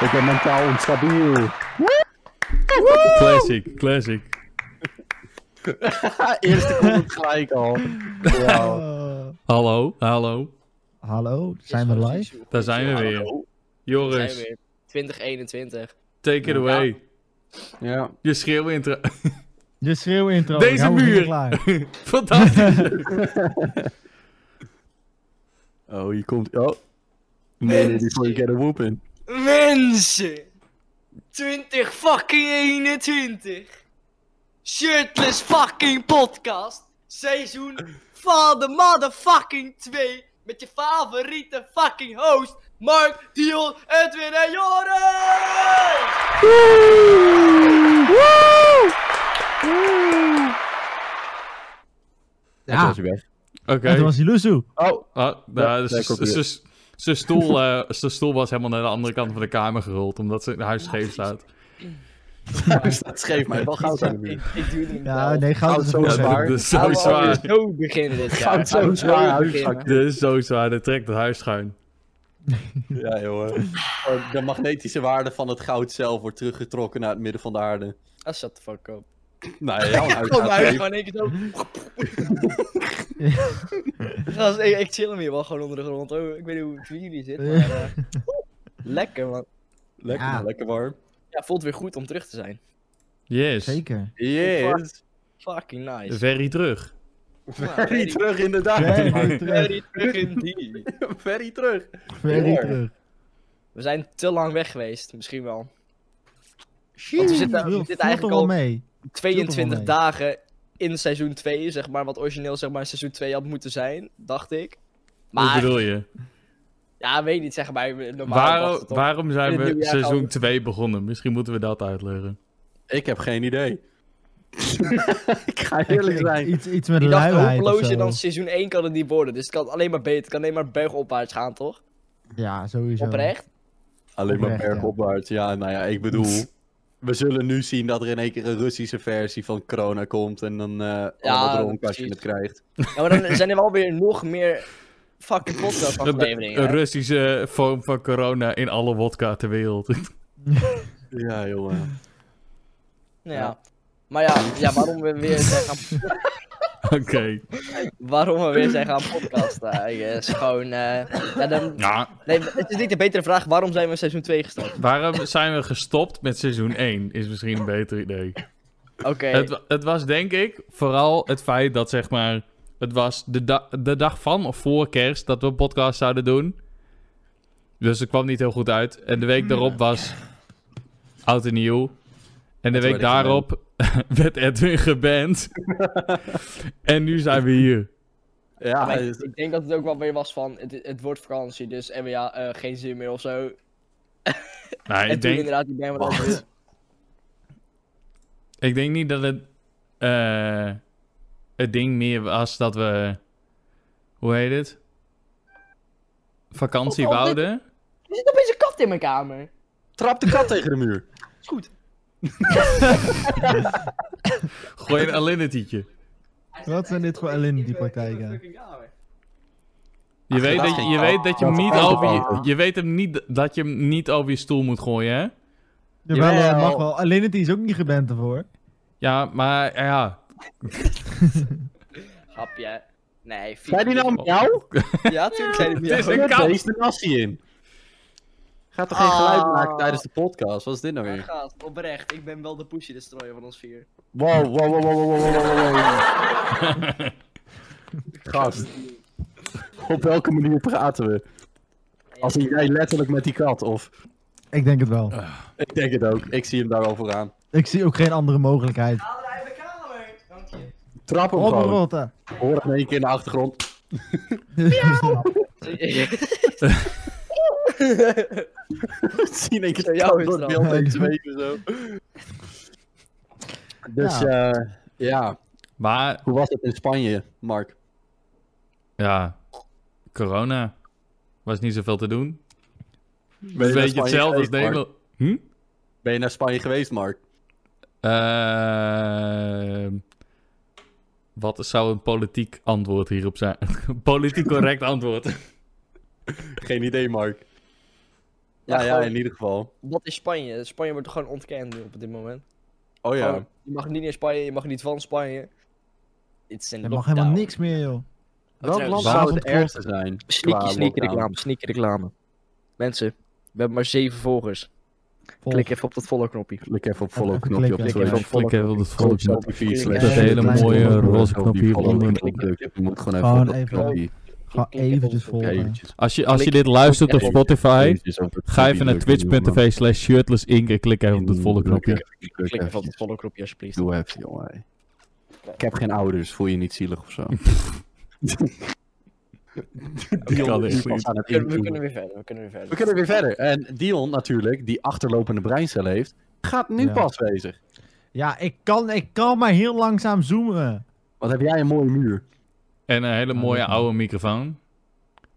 Ik ben mentaal onstabiel. Classic, classic. Ah, Eerste comment gelijk al. Wauw. Hallo, hallo. Hallo, zijn we live? Daar zijn we weer. Hallo. Joris, Zijn we weer. 2021. take it away. Ja. Je schreeuw intro. Je schreeuw intro. Deze gaan we muur. weer klaar. Fantastisch. Oh, hier komt. Oh. Nee, nee, before you get a whoop in. Mensen! 20 fucking 21. Shirtless fucking podcast. Seizoen van de motherfucking 2. Met je favoriete fucking host. Mark, Dion, Edwin en Joris! Dat Ja, was je weg. Oké. en toen was hij Luzu. Oh. Ah, nou, Ja, dus- ik ook weer. dus- Zijn stoel, eh, zijn stoel was helemaal naar de andere kant van de kamer gerold, omdat ze in huis scheef staat. Dus dat schreef mij wel goud aan de muur. ik duwde hem Ja, nee, goud is Goud wel zo zwaar. zwaar. Ja, dit is Dus zo Hallo, zwaar. Zo beginnen dit jaar. Goud zo zwaar. beginnen. huisvak. Dit is zo zwaar, dit trekt het huis schuin. Ja, joh. Eh, De magnetische waarde van het goud zelf wordt teruggetrokken naar het midden van de aarde. Ah, shut the fuck up. Nou ja, jouw Kom uitgaat uit, even. gewoon één keer zo. Gast, ik, ik chill hem hier wel gewoon onder de grond. Oh, ik weet niet hoe het hier jullie zit. Maar, eh, lekker, man. Lekker, Ja. lekker warm. Ja, voelt weer goed om terug te zijn. Yes, Zeker. Yes. Fucking nice. very terug. Ferry terug, inderdaad. Very terug. Very terug indeed. Ferry terug. Very terug. We zijn te lang weg geweest, misschien wel. Shit, zitten- we zitten eigenlijk al- mee. 22 mee. dagen in seizoen 2, zeg maar, wat origineel zeg maar seizoen 2 had moeten zijn, dacht ik. Wat Maar, bedoel je? ja, weet niet, zeg maar, normaal Waarom, wachten toch- waarom zijn In het we nieuwjaar gaan seizoen we- 2 begonnen? Misschien moeten we dat uitleggen. Ik heb geen idee. ik ga eerlijk Ik- ik- zijn. Iets, iets met Die dacht luiheid of hopelozer zo. dan seizoen 1 kan het niet worden. Dus het kan alleen maar beter. Het kan alleen maar bergopwaarts gaan, toch? Ja, sowieso. Oprecht? Alleen maar Oprecht, ja. bergopwaarts. Ja, nou ja, ik bedoel... We zullen nu zien dat er in één keer een Russische versie van corona komt. En dan eh allemaal dronken als je precies. het krijgt. Ja, maar dan zijn er wel weer nog meer fucking podcast Een afleveringen. een Russische vorm van corona in alle wodka ter wereld. Ja, jongen. Ja. Maar ja, ja, waarom we weer zijn gaan, Oké. waarom we weer zijn gaan podcasten, is gewoon... eh, ja, dan, Ja, nee, het is niet de betere vraag, waarom zijn we seizoen 2 gestart? Waarom zijn we gestopt met seizoen 1? Is misschien een beter idee. Oké, Het, wa- het was denk ik vooral het feit dat zeg maar. Het was de, da- de dag van of voor kerst dat we een podcast zouden doen. Dus het kwam niet heel goed uit. En de week daarop was. Oud en nieuw. En de toen week werd ik daarop werd Edwin geband. en nu zijn we hier. Ja, Maar dus- ik, ik denk dat het ook wel weer was van, het, het wordt vakantie, dus en we, ja, eh, geen zin meer of zo. Nou, en ik, toen denk, inderdaad, ik ben wat Wacht. over- ik denk niet dat het. eh, het ding meer was dat we. Hoe heet het? Vakantie Oh, dit- wouden. Er zit opeens een kat in mijn kamer. Trap de kat tegen de muur. Is goed. Gooi een alinitietje. Wat zijn dit voor ellende, die praktijken? Je weet, dat je, je weet dat je hem Dat niet is over je, fout. je weet hem niet dat je hem niet over je stoel moet gooien, hè? Jawel, Jawel. dat mag wel. Alleen het is ook niet geband ervoor. Ja, maar ja. Grapje. Nee, vier. Zijn die nou jou? Ja, tuurlijk Het zijn die niet. is een kat. Deze nassie in. Gaat toch geen Ah. geluid maken tijdens de podcast? Wat is dit nou Maar weer? Gaat, oprecht. Ik ben wel de pushy destroyer van ons vier. Wow, wow, wow, wow, wow, wow, wow, wow. Gast. Op welke manier praten we? Als in jij letterlijk met die kat, of... Ik denk het wel. Ik denk het ook, ik zie hem daar al vooraan. Ik zie ook geen andere mogelijkheid. Haal er uit mijn kamer. Dank je. Trap hem gewoon. Oprotten. Hoor het in één keer in de achtergrond. Zien één keer Zo, jou de kat is door het het beeld al. heen zweven zo. Dus, ja. ja. Maar Hoe was het in Spanje, Mark? ja, corona was niet zoveel te doen. Ben Een naar beetje Spanje hetzelfde als geweest, Mark? Nederland. Hm? Ben je naar Spanje geweest, Mark? Ehm, wat zou een politiek antwoord hierop zijn? politiek correct antwoord. Geen idee, Mark. Ja, ja, gewoon- in ieder geval. Wat is Spanje? Spanje wordt gewoon ontkend nu op dit moment. Oh ja. Gewoon, je mag niet in Spanje, je mag niet van Spanje. Het is een Er mag helemaal niks meer, joh. Welk land zou zou het het ergste zijn? Sneaky, sneaky reclame, sneaky reclame. Mensen, we hebben maar zeven volgers. Volg. Klik even op dat follow knopje. Klik even op follow Even knopje op klikken. de Klik even op Twitch. follow Klik even op knopje. het volgende. Dat slash hele Twitch. mooie Klik even roze op knop die hier follow onder. knop drukken. Je moet gewoon Gewoon even op dat even- knopje. Gewoon Klik even eventjes op- Ja, volgen. eventjes. Als je, als je Klik dit luistert op op- Spotify, Eventjes op dat ga even knopje naar drukken, jongen. twitch.tv slash shirtless ink en klik even op het volle knopje. Druk Klik even op eventjes. het follow knopje alsjeblieft. Doe even, jongen. Ik heb geen ouders, voel je niet zielig of zo. Dat kan is echt pas niet. aan het We kunnen, we inzoomen. kunnen weer verder, we kunnen weer verder. We kunnen weer verder. En Dion natuurlijk, die achterlopende breincellen heeft, gaat nu Ja. pas bezig. Ja, ik kan, ik kan maar heel langzaam zoomen. Wat heb jij een mooie muur. En een hele mooie oude microfoon.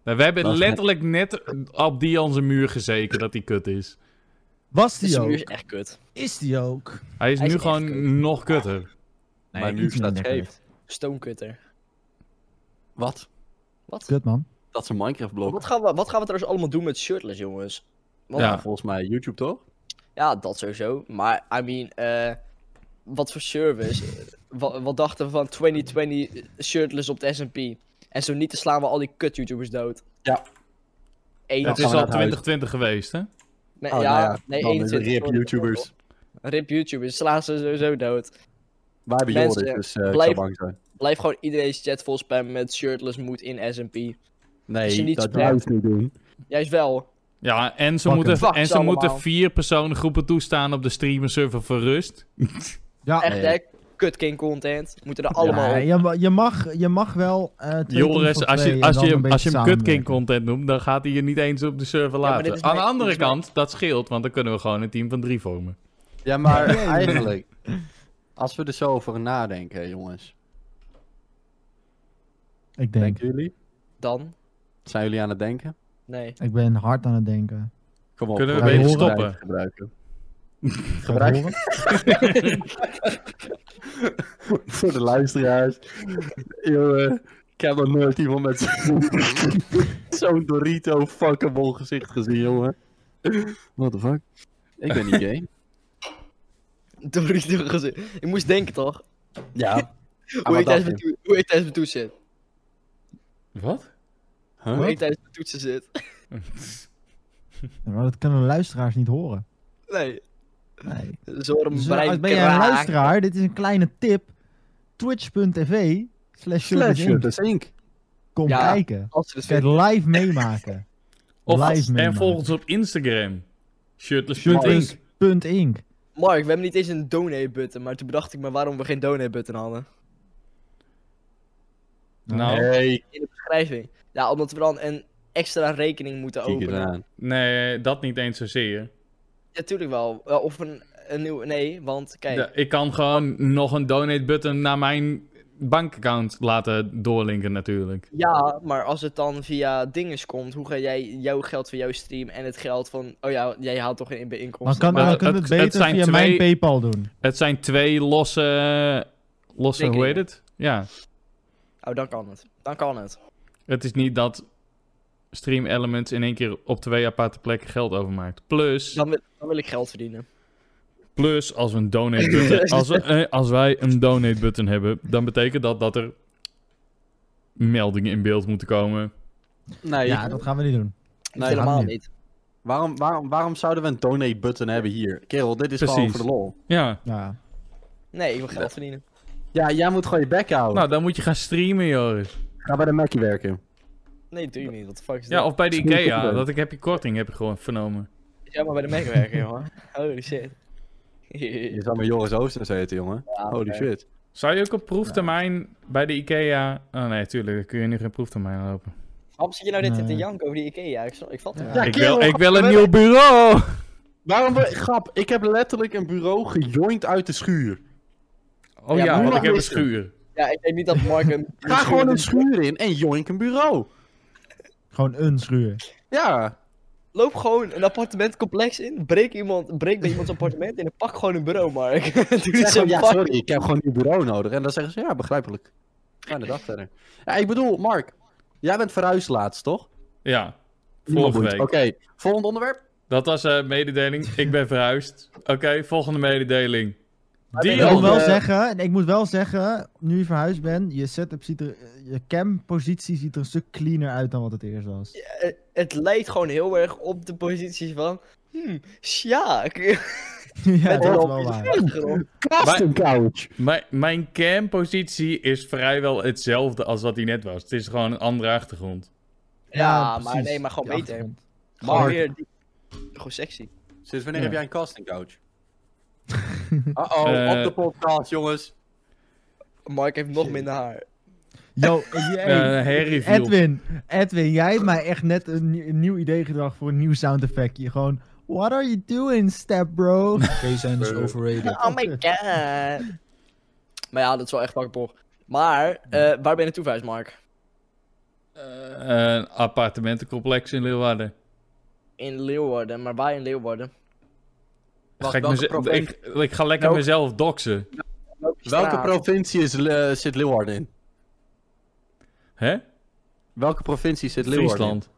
Nou, we hebben Dat is letterlijk net op die onze muur gezeken dat die kut is. Was Dit die muur Dus is ook? echt kut. Is die ook? Hij is Hij is nu echt gewoon kut. nog kutter. Nee, maar ik nu vind het staat niet lekker. scheef. Stoomkutter. Wat? Wat? Kut, man. Dat is een Minecraft blok. Wat gaan, we, wat gaan we trouwens allemaal doen met shirtless, jongens? Want- Ja. Volgens mij YouTube toch? Ja, dat sowieso. Maar, I mean, eh, wat voor service? wat, wat dachten we van 2020 shirtless op de S&P? En zo niet, te slaan we al die kut-YouTubers dood. Ja. Eén- Het gaan is we al naar het huis. 2020 geweest, hè? Nee, Oh, Eh, ja, nou ja, nee, dan is het 21. rip sorry, YouTubers. dat klopt. Rip YouTubers, slaan ze sowieso dood. Wij hebben Mensen, Joris, dus eh, ik blijf- zou bang zijn. Blijf gewoon iedereen's chat vol spammen met shirtless moet in S&P. Als je Nee, niet dat spreekt- juist niet doen. Juist wel. Ja, en ze, Fuck moeten, Fuck en ze ze moeten allemaal. vier personengroepen toestaan op de streamerserver voor rust. Ja, Echt, Nee. hè? Kut king content. Moeten er allemaal Ja, op. je, ma- je, mag, je mag wel. eh, twee teams Joris, van als je, twee als en dan een je, als je beetje hem kutking samenwerken. content noemt, dan gaat hij je niet eens op de server maar laten. dit is Aan de mijn- andere dit is mijn- kant, dat scheelt, want dan kunnen we gewoon een team van drie vormen. Ja, maar eigenlijk, als we er zo over nadenken, jongens. Ik denk. Denken jullie? Dan? Zijn jullie aan het denken? Nee. Ik ben hard aan het denken. Kom op. Kunnen we probeer probeer beter het stoppen? strijd te Gebruiken. Ga je Gebruik- het horen? Voor de luisteraars. Jongen, ik heb nog nooit iemand met zo'n- zo'n Dorito fucking bol gezicht gezien, jongen. What the fuck? Ik ben niet gay. Dorito gezin. Ik moest denken toch? ja. Ah, Hoe ik, wat tijdens dacht mijn toe- hoe ik tijdens mijn toets zit. Wat? Hoe ik Huh? tijdens mijn toetsen zit. Ja, maar dat kunnen luisteraars niet horen. Nee. Nee. Zo'n Dus, eh, brein als ben jij een kraakt. luisteraar, dit is een kleine tip. Twitch.tv slash Slash Shirtless Inc. Shirtless Inc. Kom Ja. kijken. Als ze het Kan je vinden. het live meemaken. Of, live en meemaken. volg ons op Instagram. Shirtless. Shirtless Shirtless. punt Inc. Mark, we hebben niet eens een donate-button. Maar toen bedacht ik me waarom we geen donate-button hadden. Nou, Hey, In de beschrijving. Ja, omdat we dan een extra rekening moeten kijk eens openen. aan. nee, dat niet eens zozeer. Natuurlijk wel. Eh, Of een, een nieuw... Nee, want kijk. Ja, Ik kan gewoon nog een donate button naar mijn bankaccount laten doorlinken natuurlijk. Ja, maar als het dan via dinges komt, hoe ga jij jouw geld van jouw stream en het geld van. Oh ja, jij haalt toch in bij Dan inkomsten. kan, Maar dan kan Eh, het- het het beter zijn via twee- mijn Paypal doen. Het zijn twee losse, losse hoe Dingen. heet het? Ja. Oh, dan kan het. Dan kan het. Het is niet dat Stream Elements in één keer op twee aparte plekken geld overmaakt. Plus, Dan wil, dan wil ik geld verdienen. plus als, we een donate button, als, we, eh, als wij een donate button hebben, dan betekent dat dat er meldingen in beeld moeten komen. Nee, Ja, dat gaan we niet doen. Nee, dat helemaal gaat niet. waarom, waarom, waarom zouden we een donate button hebben hier? Kerel, dit is gewoon Precies. voor de lol. Ja, Ja. Nee, ik wil geld verdienen. Ja, jij moet gewoon je bek houden. nou dan moet je gaan streamen, Joris. Ga bij de Mackie werken. Nee, dat doe je niet. Wat de fuck is dat? Ja, of bij de Stream IKEA. Kubernetes. Dat ik heb je korting, heb ik gewoon vernomen. Ja, maar bij de Mac werken, jongen. Holy shit. Je zou maar Joris Oosters heten, jongen. Ja, Holy oké. shit. Zou je ook op proeftermijn bij de IKEA... Oh nee, tuurlijk, dan kun je nu geen proeftermijn lopen. Waarom zit je nou dit te Nee. janken over die Ikea? Ik, snap- ik vat het Ja. niet. Ik wil, ik wil een nieuw bureau! Waarom we... Grap, ik heb letterlijk een bureau gejoind uit de schuur. Oh Ja, ja, maar want hoe ik heb een is het? schuur. Ja, ik denk niet dat Mark een. Ga gewoon een schuur in en joink een bureau. Gewoon een schuur. Ja. Loop gewoon een appartementcomplex in. Breek, iemand, breek bij iemands appartement in en pak gewoon een bureau, Mark. Doe niet Zeg zo gewoon, ja, fucking- sorry, ik heb gewoon een nieuw bureau nodig. En dan zeggen ze, ja, begrijpelijk. Ga de dag verder. Ja, ik bedoel, Mark. Jij bent verhuisd laatst, toch? Ja, Niemand vorige boeit. week. Oké, volgend onderwerp. Dat was een mededeling. Ik ben verhuisd. Oké, volgende mededeling. Ik Dion. moet, wel eh, zeggen, en ik moet wel zeggen, nu je verhuisd bent, je setup ziet er, eh, je campositie ziet er een stuk cleaner uit dan wat het eerst was. Eh, het lijkt gewoon heel erg op de positie van. Hmm, Sjaak. ja, Met dat is Rob wel in de waar. achtergrond. Custom couch. Mijn, mijn campositie is vrijwel hetzelfde als wat die net was. Het is gewoon een andere achtergrond. Ja, maar precies, nee, maar gewoon die beter. achtergrond. Maar Gewoon- weer die- Gewoon sexy. Sinds wanneer Ja. heb jij een casting couch? Uh-oh, Eh. op de podcast, jongens. Mark heeft nog minder haar. Yo, eh, hey, Eh hairreveal. Edwin, Edwin, jij hebt mij echt net een, nieuw- een nieuw idee gedacht voor een nieuw sound effectje. Gewoon, what are you doing, step bro? Gay zijn is overrated. Oh my god. Maar ja, dat is wel echt fucking boch. Maar, eh, waar ben je naartoe verhuisd, Mark? Eh, een appartementencomplex in Leeuwarden. In Leeuwarden, maar waar in Leeuwarden? Wacht, Ga ik, welke meze- provincie- ik, ik ga lekker Welk- mezelf doxen. Welke Straat. provincie is, eh, zit Leeuwarden in? Hè? Welke provincie zit Leeuwarden Friesland. in?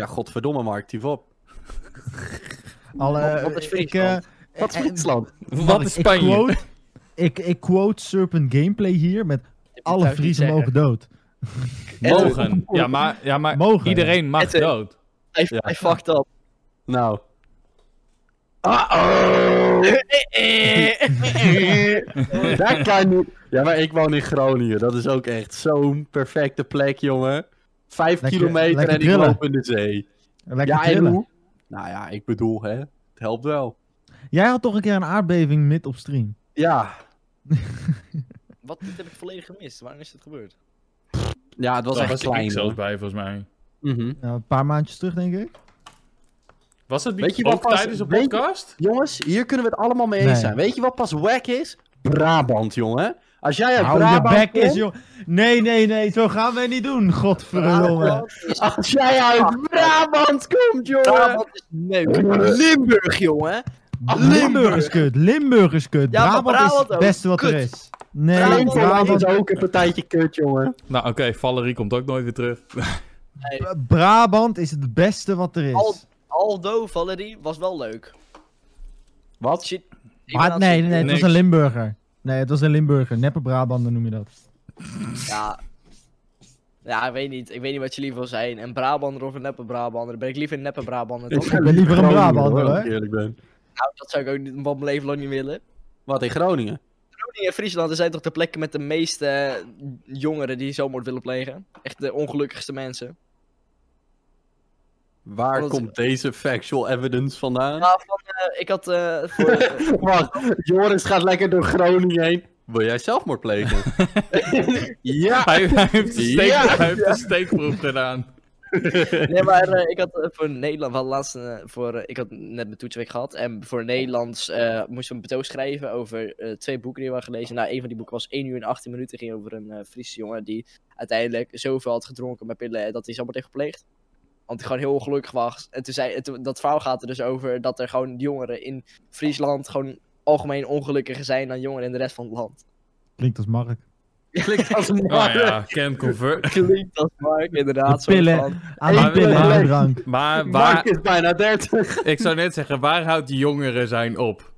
Ja, godverdomme, Mark, tief op. Alle, Wat- wat is ik, Friesland? eh, Wat is eh, Friesland? Wat is Ik Spanje? quote, ik, ik quote Serpent Gameplay hier met Heb je alle thuis niet Friesen zeggen. mogen dood. Mogen. Ja, maar, ja, maar Mogen. iedereen mag Edwin. dood. Hij, Ja. hij fucked up. Nou, eh, dat kan niet. Ja, maar ik woon in Groningen. Dat is ook echt zo'n perfecte plek, jongen. Vijf Lekker- kilometer lekker en ik trillen. loop in de zee. Lekker ja, en trillen. hoe? Nou ja, ik bedoel, hè. Het helpt wel. Jij had toch een keer een aardbeving mid op stream. Ja, Wat, dit heb ik volledig gemist. Waarom is dit gebeurd? ja het was Daar echt was klein. ik hoor. zelfs bij, volgens mij. Mhm. Nou, een paar maandjes terug, denk ik. Was dat Weet je niet wat ook pas- tijdens een weet je- podcast? Jongens, hier kunnen we het allemaal mee eens Nee. zijn. Weet je wat pas wack is? Brabant, jongen. Als jij uit Hou je Brabant bek komt... is, joh. Nee, nee, nee, zo gaan we niet doen. Godverdomme. Als jij uit Ah. Brabant komt, jongen... Brabant Ah, is leuk. Limburg, jongen. Limburg is kut, Limburg is kut. Ja, maar Brabant, is Brabant het ook. beste wat er Kut. is. Nee, Brabant- Brabant, Brabant is ook een partijtje kut, jongen. Nou, oké, Valerie komt ook nooit weer terug. Brabant is het beste wat er is. Al- Aldo, Valerie, was wel leuk. Wat? Shit. Ik ben aan Maar het nee, nee, zoeken. nee, het was Niks. een Limburger. Nee, het was een Limburger. Neppe Brabander noem je dat. Ja. Ja, ik weet niet. Ik weet niet wat je liever wil zijn. Een Brabander of een neppe Brabander. Ben ik liever een neppe Brabander dan? ben liever een Brabander, hoor, hoor. als ik eerlijk ben. nou, dat zou ik ook niet, wat mijn leven lang niet willen. Wat, in Groningen? Groningen en Friesland er zijn toch de plekken met de meeste eh, jongeren die zelfmoord willen plegen? Echt de ongelukkigste mensen. Waar Omdat- komt deze factual evidence vandaan? Ja, van, eh, ik had eh, voor... Wacht, Joris gaat lekker door Groningen heen. Wil jij zelfmoord plegen? ja! Hij, hij heeft een steek- Ja. hij heeft een steekproef gedaan. Nee, maar eh, ik had eh, voor Nederland, wel laatst eh, voor, eh, ik had net mijn toetsenweek gehad. En voor Nederlands eh, moesten we een betoog schrijven over eh, twee boeken die we hadden gelezen. Nou, een van die boeken was 1 uur en 18 minuten. ging over een eh Friese jongen die uiteindelijk zoveel had gedronken met pillen eh, dat hij zelfmoord heeft gepleegd. Want hij gewoon heel ongelukkig was. En toen zei, en toen- dat verhaal gaat er dus over dat er gewoon jongeren in Friesland gewoon algemeen ongelukkiger zijn dan jongeren in de rest van het land. Klinkt als Mark. Klinkt als een Nou man. ja, can convert. Klinkt als Mark, inderdaad. De zo pillen. van- Aan de Maar- pillen, aan de drank. Maar Mark waar, is bijna 30. ik zou net zeggen, waar houdt die jongeren zijn op?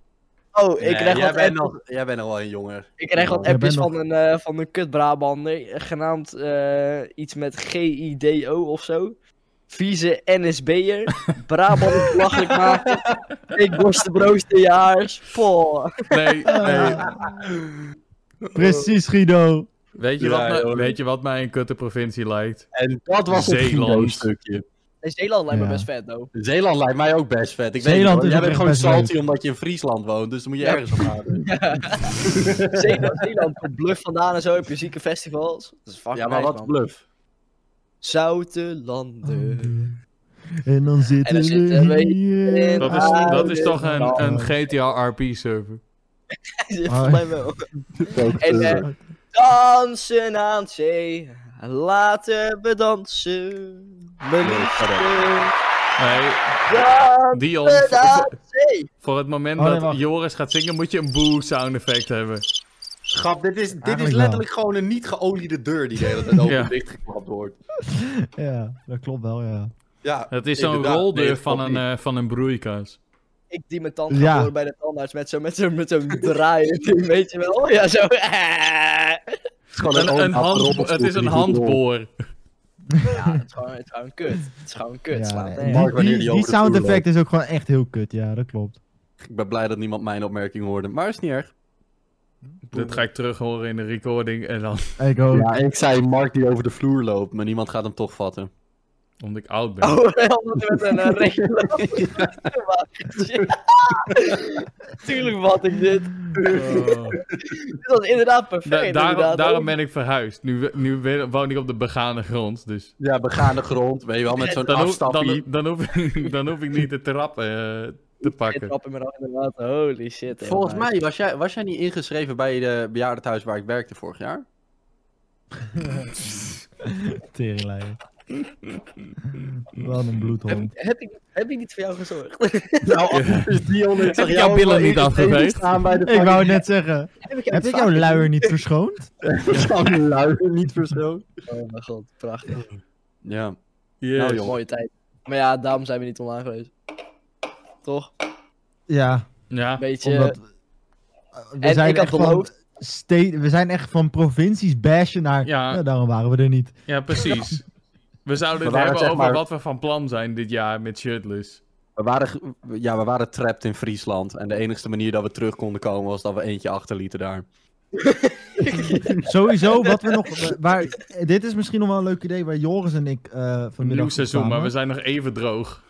Oh, ik Nee, krijg jij, wat bent apps nog, jij bent nog wel een jonger. Ik krijg wat Jij appjes bent van, een, eh, van een kut Brabander, eh, genaamd eh, iets met G-I-D-O of zo. Vieze NSB'er, Brabant belachelijk maken, ik borst de jaars, poh. Nee, nee. Precies, Guido. Weet je, Ja, wat, me- joh. weet je wat mij een kutte provincie lijkt? En dat was het Zeeland. Guido-stukje. En Zeeland lijkt me Ja. best vet, though. Zeeland lijkt mij ook best vet. Ik Zeeland weet is het, jij ook bent echt gewoon best leuk. salty omdat je in Friesland woont, dus dan moet je ergens op houden. Zeeland, Zeeland, komt bluff vandaan en zo, heb je zieke festivals. Dat is fucking Ja, maar nice, man. wat bluff. Zoute Oh. landen. En dan zitten dan we zitten we hier. in- Dat is, Ah, dat is dit toch een, is- een GTA RP-server? Oh. Volgens mij wel. En eh, dansen aan zee, laten we dansen. Mijn liefste, Nee, dansen Dion, we voor- voor- aan zee. voor het moment Oh, nee, dat wacht. Joris gaat zingen, moet je een boe-sound effect hebben. Grap, dit is, dit is Eigenlijk wel. letterlijk gewoon een niet geoliede deur die de hele tijd open Ja. en dichtgeklapt wordt. Ja, dat klopt wel, ja. Ja, Dat is zo'n Inderdaad, nee, roldeur dat van klopt een, eh, van een broeikas. Ik die mijn tand Ja. ja. bij de tandarts met zo'n met zo, met zo'n draaien ding, weet je wel? Oh ja, zo. het is gewoon Een, een oom- hand- robotstoel het is een die goed rolt. handboor. Ja, het is gewoon, het is gewoon kut. Het is gewoon kut. Ja, slaat nee, nergens Mark, die, wanneer die, die die over de sound vloer effect is ook gewoon echt heel kut. Ja, dat klopt. Ik ben blij dat niemand mijn opmerking hoorde, maar is niet erg. Dat ga ik terug horen in de recording. En dan, Ik ook. Ja, ik zei Mark die over de vloer loopt, maar niemand gaat hem toch vatten. omdat ik oud ben. Oh, omdat er met een eh, regel Tuurlijk vat ik dit. Oh. Dit was inderdaad perfect. Da- daarom, inderdaad. daarom ben ik verhuisd. Nu, we- nu we- woon ik op de begane grond, dus... Ja, begaande grond, weet je wel, met zo'n Dan hoef, dan, afstapje. dan, hoef, ik- dan hoef ik niet de trap eh, te Ik pakken. trap hem eraf inderdaad. Holy shit. Volgens inderdaad. mij was jij, was jij niet ingeschreven bij de bejaardentehuis waar ik werkte vorig jaar? Teringleier. Wat een bloedhond. Heb, heb, ik, heb ik niet voor jou gezorgd? Nou, is Dion ik Heb ik jouw billen niet afgeveegd? Ik wou net zeggen. heb ik, jou Heb het ik jouw vaak- luier niet verschoond? Zo'n luier niet verschil. Oh mijn god, prachtig. Ja. Yes. Nou, joh. Mooie tijd. Maar ja, daarom zijn we niet online geweest. Toch? Ja, Ja, Een beetje... omdat... We en zijn ik had echt van beloofd... ste- we zijn echt van provincies bashen naar... Ja. Ja, daarom waren we er niet. ja, precies. We zouden het We waren hebben zeg over maar- wat we van plan zijn dit jaar met Shirtless. We waren, ge- ja, we waren trapped in Friesland. En de enige manier dat we terug konden komen was dat we eentje achterlieten daar. Sowieso, wat we nog... Waar, dit is misschien nog wel een leuk idee waar Joris en ik eh vanmiddag Een nieuw op seizoen, maar kwamen. we zijn nog even droog.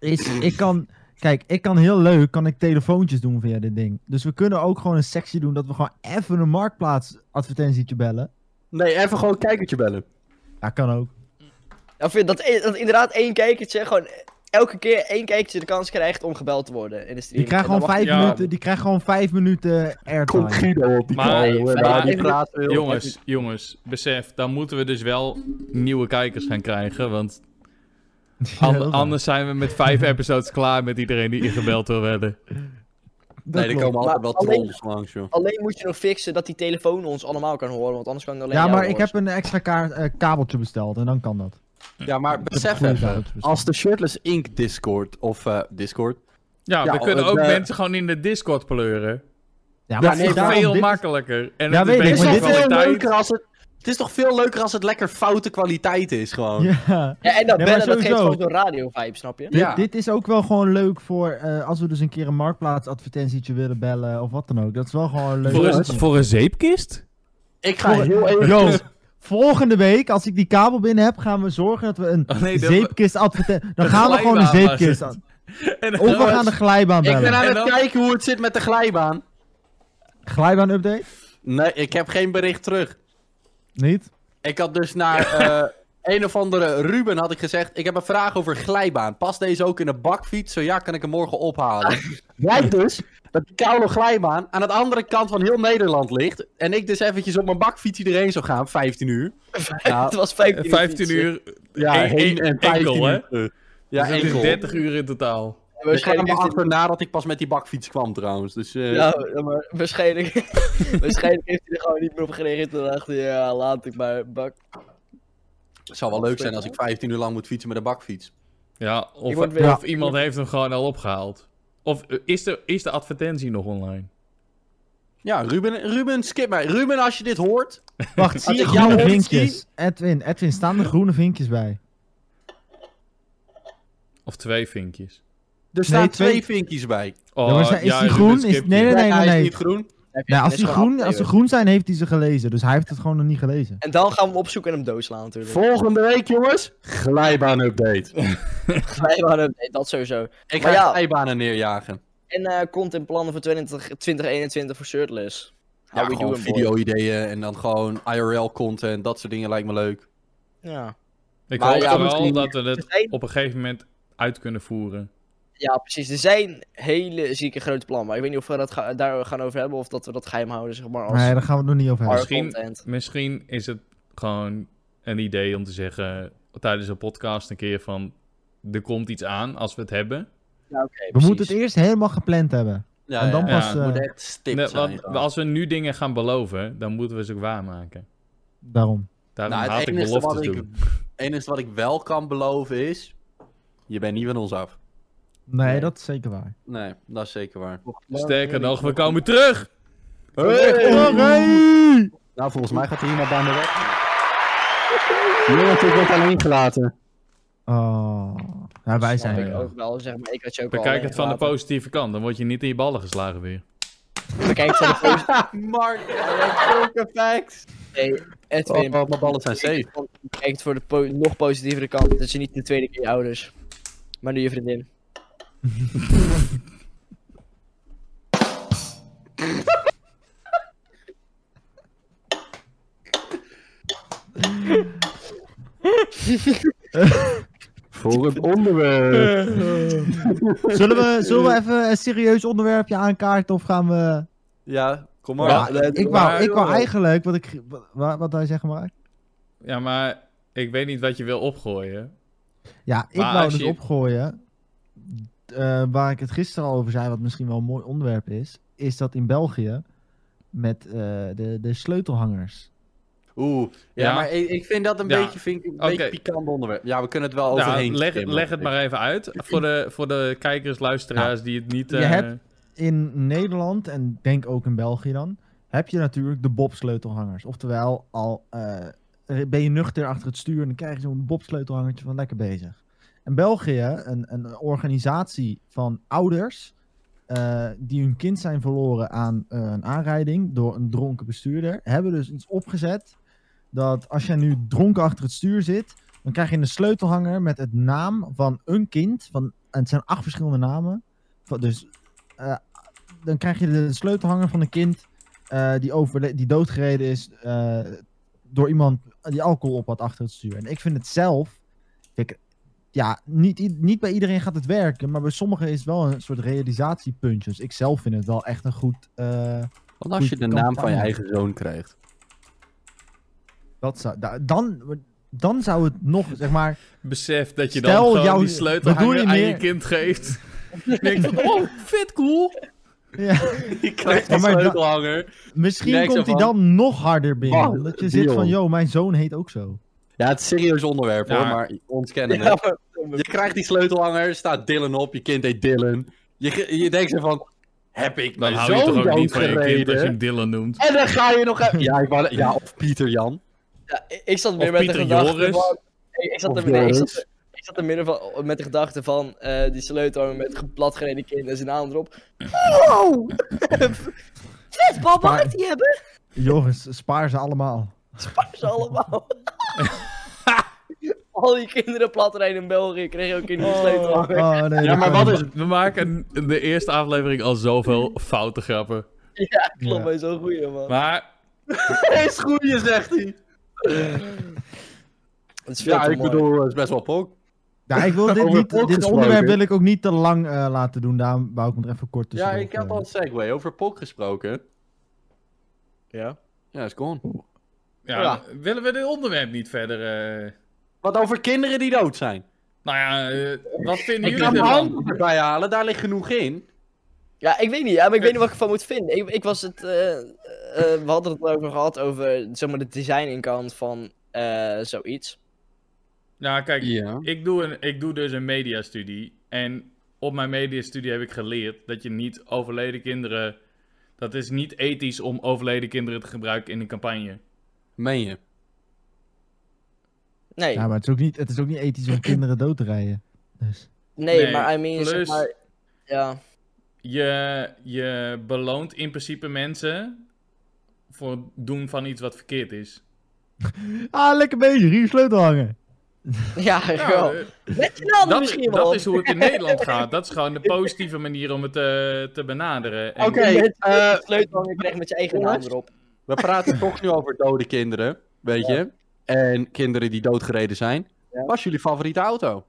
is, ik kan, kijk, ik kan heel leuk, kan ik telefoontjes doen via dit ding. Dus we kunnen ook gewoon een sectie doen dat we gewoon even een marktplaats advertentietje bellen. Nee, even gewoon kijkertje bellen. Ja, kan ook. Ja, vind dat, e- dat inderdaad één kijkertje gewoon... Elke keer één kijkertje de kans krijgt om gebeld te worden in de stream. Die krijgt En dan gewoon vijf ja. minuten, die krijgt gewoon vijf minuten Komt airtime. Guido op die Maar- call, hoor, maar- waar die maar- praat wil. Jongens, jongens, besef, dan moeten we dus wel nieuwe kijkers gaan krijgen, want Ja, an- dat is waar. anders zijn we met vijf episodes klaar met iedereen die ingebeld wil werden. Dat Nee, er klopt. komen altijd wel Maar alleen- trolls langs, joh. Alleen moet je nog fixen dat die telefoon ons allemaal kan horen, want anders kan ik alleen Ja, jou maar ik horen. heb een extra kaart, eh, kabeltje besteld en dan kan dat. Ja, maar besef goede even. kabeltje besteld. Als de Shirtless Ink Discord, of eh, Discord... Ja, Ja, we kunnen ook eh, mensen gewoon in de Discord pleuren. Ja, Ja, maar nee, nee, daarom, veel dit- makkelijker. En Ja, het weet is ik, beter maar van dit is veel kwaliteit. leuker als het... Het is toch veel leuker als het lekker foute kwaliteit is, gewoon. Ja. Ja, en dat Nee, maar bellen, dat geeft sowieso. gewoon zo'n radio-vibe, snap je? Dit, Ja. dit is ook wel gewoon leuk voor eh, als we dus een keer een marktplaats advertentietje willen bellen of wat dan ook. Dat is wel gewoon leuk. Voor een, voor een zeepkist? Ik Ah, ga heel even... Yo, volgende week, als ik die kabel binnen heb, gaan we zorgen dat we een Oh, nee, dat we- zeepkist adverteren. Dan Een gaan we gewoon een glijbaan zeepkist was aan. En dan- Of we gaan de glijbaan Ik ben bellen. aan En het dan- kijken hoe het zit met de glijbaan. Glijbaan update? Nee, ik heb geen bericht terug. Niet? Ik had dus naar eh, een of andere Ruben had ik gezegd... Ik heb een vraag over glijbaan. Past deze ook in een bakfiets? Zo ja, kan ik hem morgen ophalen. Blijkt dus dat die koude glijbaan aan de andere kant van heel Nederland ligt. En ik dus eventjes op mijn bakfiets iedereen zou gaan, 15 uur. Nou, het was 15 uur. 15 uur. ja, Eén- heen één- en 15 enkel, hè? uur terug. Eh, Ja, dus dat enkel. is 30 uur in totaal. Ik kwam Waarschijnlijk heeft erachter nadat ik pas met die bakfiets kwam trouwens. Dus, eh, hij- Ja, ja, maar waarschijnlijk, waarschijnlijk heeft hij er gewoon niet meer op gereageerd. Toen dacht hij, ja, laat ik maar bak. Het zou wel leuk zijn als ik 15 uur lang moet fietsen met een bakfiets. Ja, Ik of, word weer- of iemand heeft hem gewoon al opgehaald. Of eh, is de, is de advertentie nog online? Ja, Ruben, Ruben, skip mij. Ruben, als je dit hoort. Wacht, zie je ik jou groene ooit vinkjes? Edwin, Edwin, staan er groene vinkjes bij? Of twee vinkjes? Er staan Nee, twee- twee... vinkjes bij. Oh, Ja, maar zijn- is die Ruben groen? skipt Is- nee, die. nee, nee. hij is niet groen. Nou, als, die groen, als ze goed. groen zijn, heeft hij ze gelezen. Dus hij heeft het gewoon nog niet gelezen. En dan gaan we hem opzoeken en hem doodslaan natuurlijk. Volgende week, jongens. Glijbaan-update. Wij waren, nee, dat sowieso. ik ga Maar ja. glijbanen neerjagen. En eh, content plannen voor 20, 2021 voor shirtless. How Ja, we gewoon doing, boy? video-ideeën en dan gewoon IRL-content. Dat soort dingen lijkt me leuk. Ja. Ik Maar hoop ja, vooral misschien- dat we het zijn- op een gegeven moment uit kunnen voeren. ja, precies. Er zijn hele zieke grote plannen. Maar ik weet niet of we dat ga- daar gaan over hebben of dat we dat geheim houden, zeg maar. Als Nee, daar gaan we het nog niet over our hebben. Misschien- content. Misschien is het gewoon een idee om te zeggen tijdens een podcast een keer van... Er komt iets aan als we het hebben. Ja, oké. We precies. moeten het eerst helemaal gepland hebben. Ja, En dan ja, pas, ja, het eh, moet echt stipt Nee, zijn. want gewoon. als we nu dingen gaan beloven, dan moeten we ze ook waarmaken. Daarom. Daarom Nou, het haat ik enige wat beloftes ik- doen. Het enige wat ik wel kan beloven is... Je bent niet van ons af. Nee, Nee. dat is zeker waar. Nee, dat is zeker waar. Sterker nog, we komen terug! Nou, volgens mij gaat er iemand aan de weg. Jongens, ik word alleen gelaten. Oh. Nou, wij zijn ik er. ook wel, zeg maar. Ik had je ook eh, Bekijk het van de post. positieve kant, dan word je niet in je ballen geslagen weer. Bekijk het van de post. Mark, zulke facts. Nee, Oh, Edwin. mijn ballen zijn bekijk safe. het van- Bekijk het voor de po- nog positievere kant. Dat je niet de tweede keer je ouders. Maar nu je vriendin. Voor het onderwerp. Zullen we, zullen we even een serieus onderwerpje aankaarten of gaan we... Ja, kom maar. Ja, Ja, ik wou, ik wou eigenlijk, wat ik... Wat, wat hij zeggen maar. Ja, maar ik weet niet wat je wil opgooien. Ja, ik Maar wou als dus je- opgooien. eh, waar ik het gisteren al over zei, wat misschien wel een mooi onderwerp is, is dat in België met eh, de, de sleutelhangers. Oeh, ja, Ja. maar ik, ik vind dat een Ja. beetje, vind ik een Oké. beetje pikant onderwerp. Ja, we kunnen het wel Nou, overheen. leg, stemmen. leg het maar even uit voor de, voor de kijkers, luisteraars die het niet... je eh, hebt- In Nederland, en ik denk ook in België dan, heb je natuurlijk de bobsleutelhangers. Oftewel, al eh, ben je nuchter achter het stuur en dan krijg je zo'n bobsleutelhangertje van lekker bezig. In België, een, een organisatie van ouders eh, die hun kind zijn verloren aan eh, een aanrijding door een dronken bestuurder, hebben dus iets opgezet dat als jij nu dronken achter het stuur zit, dan krijg je een sleutelhanger met het naam van een kind. Van, en het zijn acht verschillende namen. Van- Dus eh, dan krijg je de sleutelhanger van een kind eh, die, overle- die doodgereden is eh, door iemand die alcohol op had achter het stuur. En ik vind het zelf, ik, ja, niet, i- niet bij iedereen gaat het werken, maar bij sommigen is het wel een soort realisatiepuntje. Dus ik zelf vind het wel echt een goed, eh, Want als je de naam van je eigen zoon krijgt. dat zou, da- dan, dan zou het nog, zeg maar, Besef dat je Stel dan gewoon jouw- die wat doe sleutelhanger je aan je meer? kind geeft. Ik denk van, oh, vet cool. Ja, Je krijgt Ja, een maar da- sleutelhanger. misschien Merk zo komt hij van, dan nog harder binnen. "Wow, omdat je die zit van, jongen." yo, mijn zoon heet ook zo. Ja, het is een serieus onderwerp Ja. hoor, maar ontkennen Ja, het. maar- Je krijgt die sleutelhanger, staat Dylan op, je kind heet Dylan. Je, ge- je denkt zo van, heb ik Dan mijn Nou, hou je zoon toch ook niet van je kind als je hem doodgereden? Dylan noemt. En dan ga je nog even... Ja, ik wou- ja of Pieter Jan. Ja, ik- ik zat Of meer met de Pieter gedachte Joris. van... Ik, ik zat Of er nee, ik Joris. zat, er- ik zat er midden van, met de gedachte van eh, die sleutelhanger met ge- platgereden kind en zijn naam erop. Wow! Vet, papa, Maar- mag ik die hebben? Jongens, spaar ze allemaal. Spaar ze allemaal. Al die kinderen platrijden in België kregen ook een nieuwe sleutelhanger. Oh, nee, Ja, dat maar kan wat niet. is... We maken de eerste aflevering al zoveel foute grappen. Ja, klopt, Ja. maar zo'n goeie, man. Maar Is goeie, zegt hij. Het is veel Ja, te ik mooi. bedoel, eh, het is best wel pok. Ja, ik wil dit, Over niet, dit pok gesproken. onderwerp wil ik ook niet te lang eh, laten doen. Daarom wou ik hem er even kort tussen. Ja, ik had al een segue over pok gesproken. Ja. Ja, is gone. ja, Ja. willen we dit onderwerp niet verder... eh, Wat over kinderen die dood zijn. Nou ja, eh, wat vinden Ik jullie kan mijn ervan? hand erbij halen, daar ligt genoeg in. Ja, ik weet niet, ja, maar ik weet niet wat ik ervan moet vinden. Ik, ik was het, eh, eh, we hadden het erover gehad over zeg maar, de design-inkant van eh, zoiets. Nou, kijk, Ja. ik, doe een, ik doe dus een mediastudie. En op mijn mediastudie heb ik geleerd dat je niet overleden kinderen... Dat is niet ethisch om overleden kinderen te gebruiken in een campagne. Meen je? Nee, Ja, maar het is ook niet, het is ook niet ethisch om kinderen dood te rijden. Dus. nee, Nee, maar I mean, zeg plus- maar, ja, Je, je beloont in principe mensen voor het doen van iets wat verkeerd is. Ah, lekker bezig. Hier sleutel hangen. ja, Ja, gewoon. eh, Met je handen dat, misschien wel. dat is hoe het in Nederland gaat. Dat is gewoon de positieve manier om het eh, te, te benaderen. En- Oké, Met- eh, de sleutelhanger krijgt met je eigen naam jongens. erop. We praten toch nu over dode kinderen, weet je? En kinderen die doodgereden zijn. Ja. Wat is jullie favoriete auto?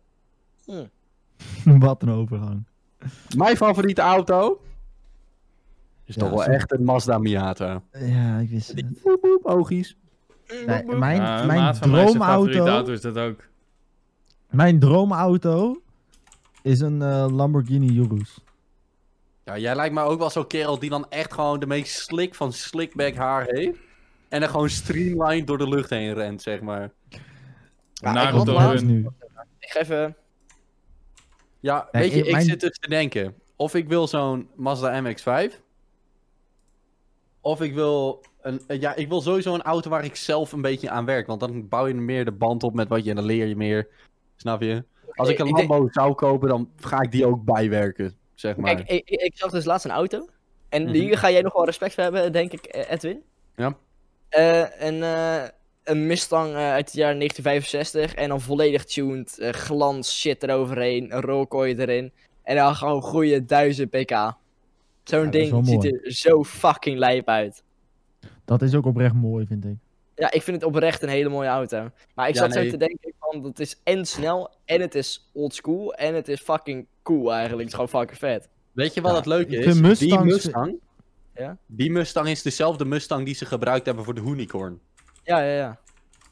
wat een overgang. Mijn favoriete auto is Ja, toch wel zo- echt een Mazda Miata. Ja, ik wist het. Boep, boep, oogies. Nee, Boep, boep. mijn Ja, een mijn maat van mij zijn favoriete droomauto... auto is dat ook. Mijn droomauto is een eh, Lamborghini Urus. Ja, jij lijkt mij ook wel zo'n kerel die dan echt gewoon de meest slik van slickback haar heeft. En dan gewoon streamlined door de lucht heen rent, zeg maar. Ja, ik, Naruto had laatst- dus nu. ik ga even... Ja, Nee, weet je, ik- ik mijn- zit dus te denken. Of ik wil zo'n Mazda MX-5. Of ik wil... Een, eh, ja, ik wil sowieso een auto waar ik zelf een beetje aan werk. Want dan bouw je meer de band op met wat je... En dan leer je meer. Snap je? Als ik een ik denk- Lambo zou kopen, dan ga ik die ook bijwerken. Zeg maar. Kijk, ik, ik, ik zag dus laatst een auto. En Mhm. hier ga jij nog wel respect voor hebben, denk ik, eh, Edwin. Ja. Eh, een, eh, een Mustang eh, uit het jaar 1965. En dan volledig tuned. eh, glans shit eroverheen. Een rolkooi erin. En dan gewoon goede 1000 pk. Zo'n dat is wel ding ziet mooi. er zo fucking lijp uit. Dat is ook oprecht mooi, vind ik. Ja, ik vind het oprecht een hele mooie auto. Maar ik Ja, zat nee. zo te denken van, dat is en snel, en het is oldschool, en het is fucking cool eigenlijk. Het is gewoon fucking vet. Weet je wat Ja, het leuke ik is? vind die Mustangs- Mustang... Ja? Die Mustang is dezelfde Mustang die ze gebruikt hebben voor de Unicorn. Ja, ja, ja.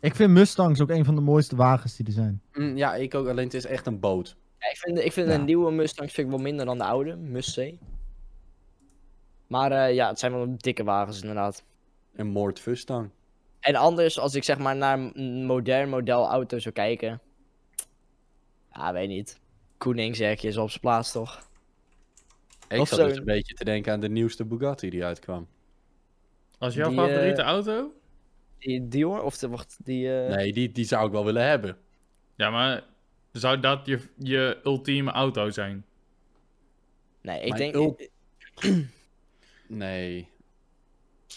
Ik vind Mustangs ook een van de mooiste wagens die er zijn. Mm, ja, ik ook. Alleen het is echt een boot. Ja, ik vind, ik vind Ja. een nieuwe Mustang vind ik wel minder dan de oude, Must C. Maar eh, ja, het zijn wel dikke wagens inderdaad. Een Moord Fustang. En anders, als ik zeg maar naar een modern model auto zou kijken. Ja, weet niet. Koeningserkje is op zijn plaats toch? Ik Of zat zo. dus een beetje te denken aan de nieuwste Bugatti die uitkwam. Als jouw Die, favoriete eh, auto? Die Dior? Of de, wacht, die... eh, Nee, die, die zou ik wel willen hebben. Ja, maar zou dat je, je ultieme auto zijn? nee, ik Mijn denk... ul- Nee.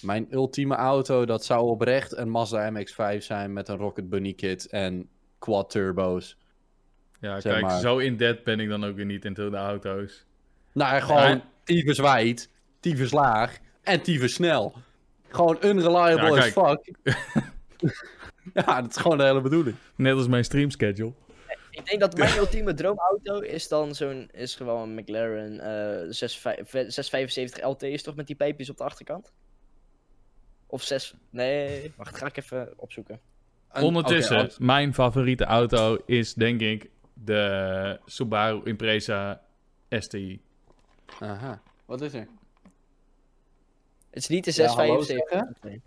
Mijn ultieme auto, dat zou oprecht een Mazda MX-5 zijn met een Rocket Bunny kit en quad turbo's. Ja, Zeg kijk, maar. zo in debt ben ik dan ook weer niet in de auto's. Nou, en gewoon Maar- tyfus wijd, tyfus laag en tyfus snel. Gewoon unreliable Ja, as fuck. ja, dat is gewoon de hele bedoeling. Net als mijn stream schedule. Ik denk dat mijn ultieme droomauto is dan zo'n... Is gewoon een McLaren eh 675 675 LT is toch met die pijpjes op de achterkant? Of 6... Nee, wacht, ga ik even opzoeken. Een- Ondertussen, oké, als- mijn favoriete auto is denk ik de Subaru Impreza STI. Aha, wat is er? Het is niet de Ja, hallo 675. Nee.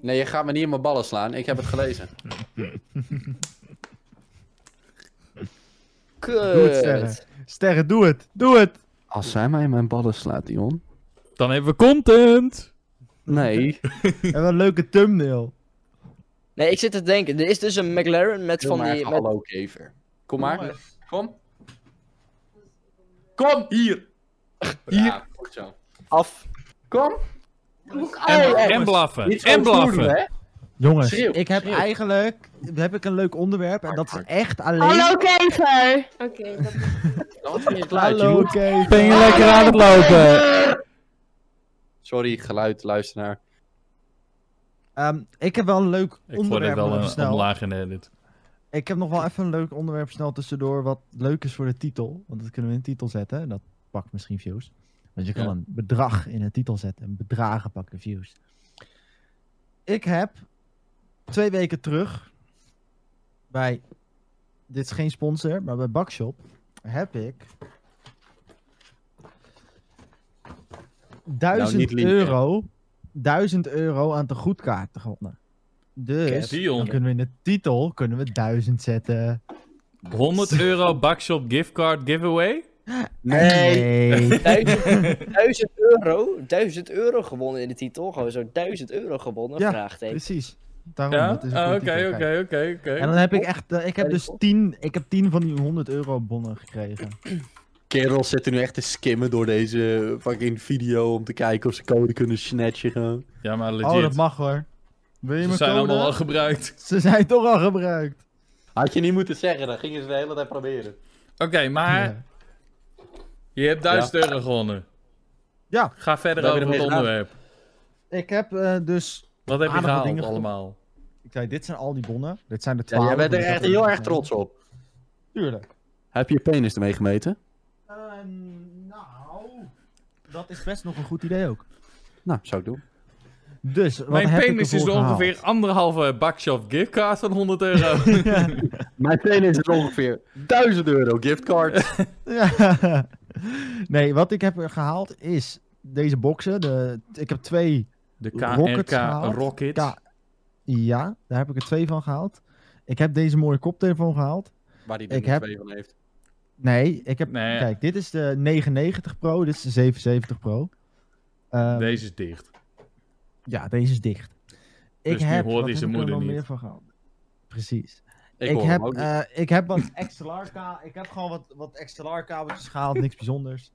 Nee, je gaat me niet in mijn ballen slaan. Ik heb het gelezen. Doe het, Sterren. Sterren, doe het. Doe het. Als zij mij in mijn ballen slaat, Dion. Dan hebben we content! Nee. En wat een leuke thumbnail. nee, ik zit te denken. Er is dus een McLaren met Kom van maar, die... met- hallo kever. Kom maar. Kom. Kom, hier. Hier. Goed zo. af. Kom. En, jongens, en blaffen, Oh, Niet zo en stoer blaffen! doen, hè? Jongens, Schreeuw, ik heb schreeuw. eigenlijk heb ik een leuk onderwerp en dat is echt alleen... Hallo Kever! Oké, dat is Dat is een geluidje, Hallo, hoor. oké. Ben je lekker aan het lopen? Sorry, geluid, luisteraar. Ehm, ik heb wel een leuk Ik vond het onderwerp wel nog een, eh, een snel. lage edit. Ik heb nog wel even een leuk onderwerp snel tussendoor wat leuk is voor de titel. Want dat kunnen we in de titel zetten. en Dat pakt misschien views. Want je kan Ja. een bedrag in een titel zetten. En bedragen pakken views. Ik heb twee weken terug bij... Dit is geen sponsor, maar bij Bakshop heb ik... 1000 Nou, linken. euro, 1000 euro aan de goedkaarten gewonnen. Dus dan Dion, kunnen we in de titel kunnen we 1000 zetten. 100 euro Bakshop giftcard giveaway? Oh, Nee. 1000, 1000 euro. 1000 euro gewonnen in de titel. Gewoon zo 1000 euro gewonnen. Ja, vraagteken. Precies. Daarom, Ja? dat is een Ah, goede Oké, titel, kijk. oké, oké, En oké. dan heb ik echt, eh, ik heb dus 10, ik heb 10 van die 100 euro bonnen gekregen. Kerels zitten nu echt te skimmen door deze fucking video om te kijken of ze code kunnen snatchen gewoon. Ja, maar Oh, dat legit. mag hoor. Wil je Ze mijn zijn code? allemaal al gebruikt. Ze zijn toch al gebruikt. Had je niet moeten zeggen, dan gingen ze de hele tijd proberen. Oké, maar Ja. je hebt 1000 euro gewonnen. Ja. Ga verder Wat heb je over het ermee gedaan? onderwerp. Ik heb eh, dus, Wat heb je Aardige gehaald dingen gedaan. allemaal? ik zei, dit zijn al die bonnen. Dit zijn de Ja, 12. jij bent er dus dat echt is- heel erg trots op. Tuurlijk. Heb je je penis ermee gemeten? Eh, nou, dat is best nog een goed idee ook. Nou, zou ik doen. Dus, wat Mijn heb ik penis is ervoor gehaald? ongeveer anderhalve bakshop giftcard van 100 euro. Mijn penis is ongeveer 1000 euro giftcard. Ja. Nee, wat ik heb gehaald is deze boxen. De, ik heb twee. De Rockets KRK gehaald. Rocket. Ja. Ja, daar heb ik er twee van gehaald. Ik heb deze mooie koptelefoon gehaald. Waar die Ik heb- twee van heeft. Nee, ik heb. Nee. Kijk, dit is de 990 Pro, dit is de 770 Pro. Ehm, Deze is dicht. Ja, deze is dicht. Dus die hoort wat hij heb zijn ik er moeder nog niet. meer van gehad. Precies. Ik, Ik, hoor heb, hem ook niet. eh, ik heb wat XLR-kabels. Ik heb gewoon wat, wat XLR-kabeltjes gehaald, niks bijzonders.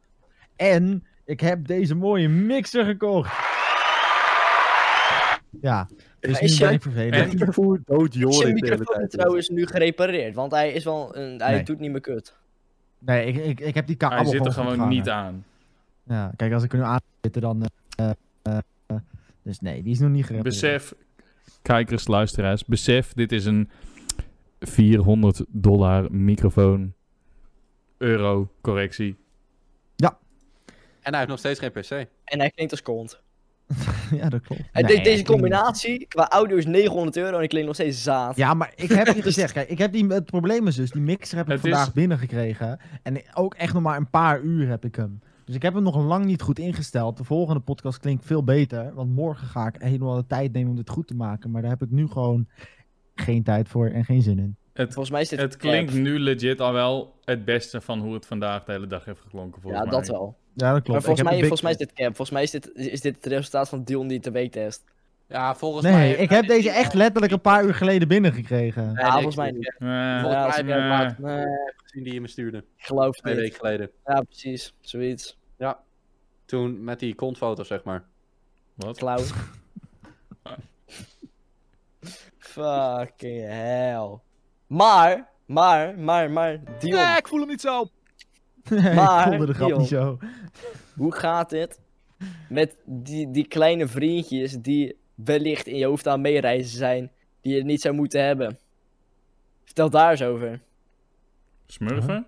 En ik heb deze mooie mixer gekocht. Ja, dus is nu ben je- ik vervelend. En- En hoe dood Zijn Jorik de hele microfoon is tijd. trouwens nu gerepareerd, want hij is wel een, hij Nee. doet niet meer kut. Nee, ik, ik, ik heb die kabel Hij zit er goed gewoon gevangen. niet aan. Ja, kijk, als ik er nu aan zit, dan... eh, eh, eh, dus nee, die is nog niet gerepareerd. Besef, kijkers, luisteraars, besef, dit is een 400 dollar microfoon. Euro, correctie. En hij heeft nog steeds geen PC. En hij klinkt als kont. ja, dat klopt. Nee, En de- deze ik denk niet. combinatie qua audio is 900 euro en ik klinkt nog steeds zaad. Ja, maar ik heb je gezegd, kijk, ik heb die, het probleem is dus, die mixer heb ik Het vandaag is- binnengekregen. En ook echt nog maar een paar uur heb ik hem. Dus ik heb hem nog lang niet goed ingesteld. De volgende podcast klinkt veel beter, want morgen ga ik helemaal de tijd nemen om dit goed te maken. Maar daar heb ik nu gewoon geen tijd voor en geen zin in. Het, Volgens mij is dit het klinkt crap. nu legit al wel het beste van hoe het vandaag de hele dag heeft geklonken. Volgens Ja, mij. dat wel. Ja, dat klopt. Maar Ik heb volgens mij, een big- volgens mij is dit cap. Volgens mij is dit, is dit het resultaat van Dion die te test. Ja, volgens mij... Nee, ik heb deze echt letterlijk een paar uur geleden binnengekregen. Ja, volgens mij niet. Eh, Volgens Ja, mij heb ze- jij het laatst Nee, gezien die je me stuurde. ik geloof het Twee niet. weken geleden. Ja, precies. Zoiets. Toen met die kontfoto, zeg maar. wat? Klauw. Fucking hell. Maar, maar, maar, maar, Dion. ik voel hem niet zo. ik Maar, voelde de grap Dion. niet zo. Hoe gaat dit met die, die kleine vriendjes die wellicht in je hoofd aan meereizen zijn, die je niet zou moeten hebben? Vertel daar eens over. Smurfen?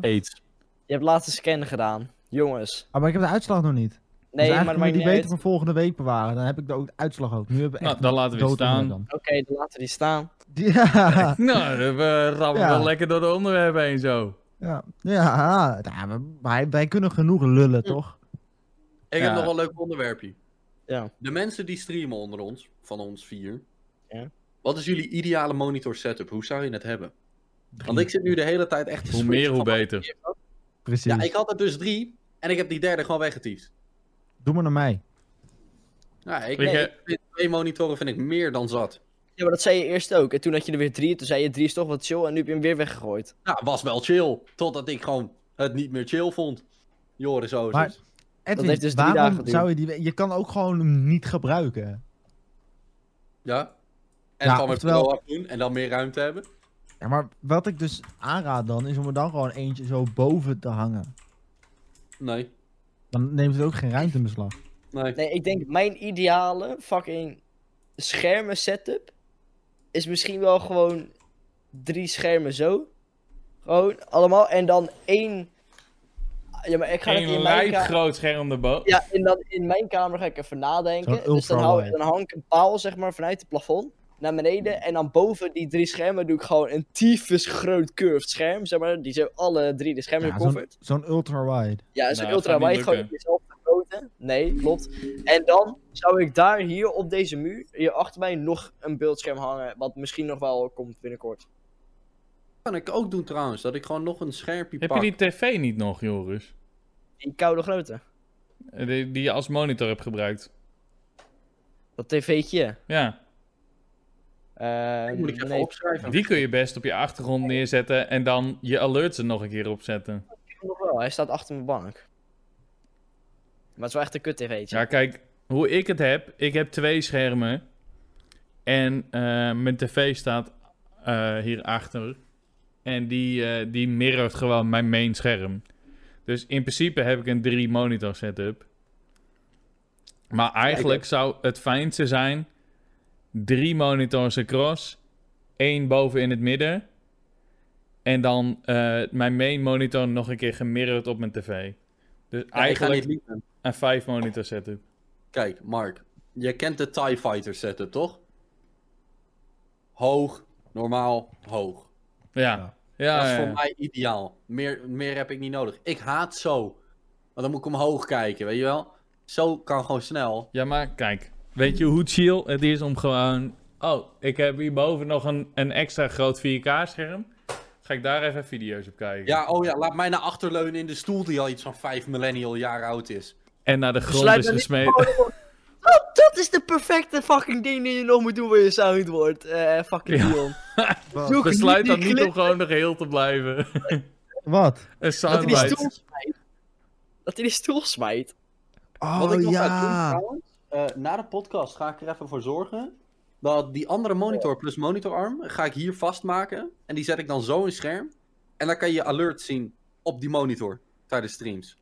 AIDS. Je hebt laatst een scan gedaan, jongens. Ah, maar ik heb de uitslag nog niet. Nee, dus eigenlijk maar moet dat maakt ik die niet beter uit. van volgende week bewaren. Dan heb ik de ook- uitslag ook. Nu hebben we Nou, echt dan laten we het dood honger staan. dan. Oké, dan laten we die staan. Ja, Nou, we rammen Ja. wel lekker door de onderwerpen heen zo. ja, ja. ja, we- wij, wij kunnen genoeg lullen, toch? Ik Ja. heb nog wel een leuk onderwerpje. Ja. De mensen die streamen onder ons, van ons vier. Ja. Wat is jullie ideale monitor setup? Hoe zou je het hebben? Want ik zit nu de hele tijd echt te Hoe switchen meer, hoe van- beter. Precies. Ja, ik had er dus drie. En ik heb die derde gewoon weggetiefd. Doe maar naar mij. Nou, ik, Ik, nee, eh, ik vind twee monitoren vind ik meer dan zat. Ja, maar dat zei je eerst ook. En toen had je er weer drie. Toen zei je drie is toch wat chill. En nu heb je hem weer weggegooid. Nou, was wel chill. Totdat ik gewoon het niet meer chill vond. Joris Ozers. Maar- Edwin, heeft dus drie waarom dagen geduurd. zou je die... we- Je kan ook gewoon hem niet gebruiken. Ja. En Ja, gewoon met oftewel- Pro doen en dan meer ruimte hebben. Ja, maar wat ik dus aanraad dan, is om er dan gewoon eentje zo boven te hangen. Nee. Dan neemt het ook geen ruimte in beslag. Nee. Nee, ik denk mijn ideale fucking schermen setup is misschien wel gewoon drie schermen zo. Gewoon allemaal. En dan één. Ja, maar ik ga het Een in mijn lijp kamer. groot scherm erboven. Ja, en dan in mijn kamer ga ik even nadenken. Zo'n Dus ultra dan, hou, wide. dan hang ik een paal zeg maar vanuit het plafond naar beneden. En dan boven die drie schermen doe ik gewoon een tyfus groot curved scherm. Zeg maar, die zo alle drie de schermen Ja, zo'n covert. zo'n ultra-wide. Ja, zo'n Nou, dat ultra gaat niet wide, gewoon lukken. dezelfde grootte. Nee, klopt. En dan zou ik daar hier op deze muur, hier achter mij, nog een beeldscherm hangen. Wat misschien nog wel komt binnenkort. kan ik ook doen trouwens. Dat ik gewoon nog een schermpje Heb je pak. die tv niet nog, Joris? In koude grootte. Eh, Die, die je als monitor hebt gebruikt. Dat tv'tje. Ja, Eh, Die moet ik even nee, opschrijven. die kun je best op je achtergrond neerzetten en dan je alerts er nog een keer op zetten. nog wel. Hij staat achter mijn bank. Maar het is wel echt een kut tv'tje. Ja, kijk, hoe ik het heb, ik heb twee schermen en eh, mijn tv staat eh, hierachter en die, eh die mirrort gewoon mijn main scherm. Dus in principe heb ik een drie monitor setup. Maar eigenlijk zou het fijnste zijn drie monitors across, één boven in het midden en dan eh, mijn main monitor nog een keer gemirrord op mijn tv. Dus Ja, ik ga eigenlijk niet liegen. een vijf monitor setup. Kijk, Mark. Je kent de TIE Fighter setup, toch? Hoog, normaal, hoog. Ja. Ja, dat is ja, voor ja. mij ideaal. Meer, meer heb ik niet nodig. Ik haat zo. Want dan moet ik omhoog kijken, weet je wel? Zo kan gewoon snel. Ja, maar kijk. Weet je hoe chill het is om gewoon... Oh, ik heb hierboven nog een, een extra groot 4K-scherm. Ga ik daar even video's op kijken. Ja, oh ja, laat mij naar achterleunen in de stoel die al iets van vijf millennial jaar oud is. En naar de grond Sluit is dan niet gesmeten. Oh, dat is de perfecte fucking ding die je nog moet doen waar je sound wordt. Eh, fucking Ja. Dion. Wat? Zoek Besluit die dan niet clip om gewoon nog heel te blijven. Wat? Een Dat hij die soundbite. stoel smijt. Dat hij die stoel smijt. Oh Wat ik nog ga doen ja. trouwens, eh, na de podcast ga ik er even voor zorgen dat die andere monitor plus monitorarm ga ik hier vastmaken. En die zet ik dan zo in scherm. En dan kan je je alert zien op die monitor tijdens streams.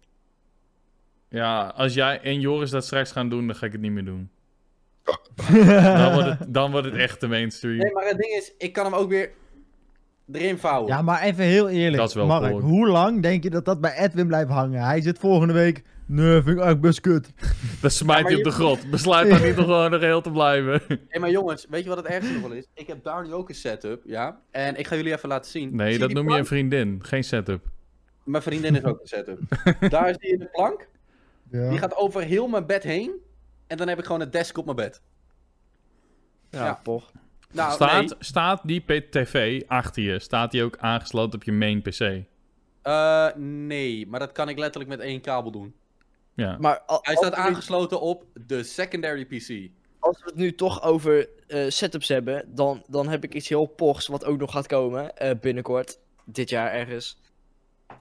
Ja, als jij en Joris dat straks gaan doen, dan ga ik het niet meer doen. Dan wordt het, dan wordt het echt de mainstream. Nee, maar het ding is, ik kan hem ook weer erin vouwen. Ja, maar even heel eerlijk. Dat is wel Mark, cool. hoe lang denk je dat dat bij Edwin blijft hangen? Hij zit volgende week. Nee, vind ik eigenlijk best kut. Dan smijt hij op de grot. Besluit dan niet om gewoon nog heel te blijven. Hey, maar jongens, weet je wat het ergste nog wel is? Ik heb daar nu ook een setup, ja. En ik ga jullie even laten zien. Zie Nee, dat die noem je plank? een vriendin. Geen setup. Mijn vriendin is ook een setup. daar zie je de plank. Ja. Die gaat over heel mijn bed heen. En dan heb ik gewoon een desk op mijn bed. Ja, Ja. poch. Nou, staat, nee. staat die p- tv achter je? Staat die ook aangesloten op je main PC? Eh, nee, maar dat kan ik letterlijk met één kabel doen. Ja. Maar al- Hij als, staat we nu, aangesloten op de secondary PC. als we het nu toch over eh, setups hebben, dan, dan heb ik iets heel pochs wat ook nog gaat komen eh, binnenkort. Dit jaar ergens.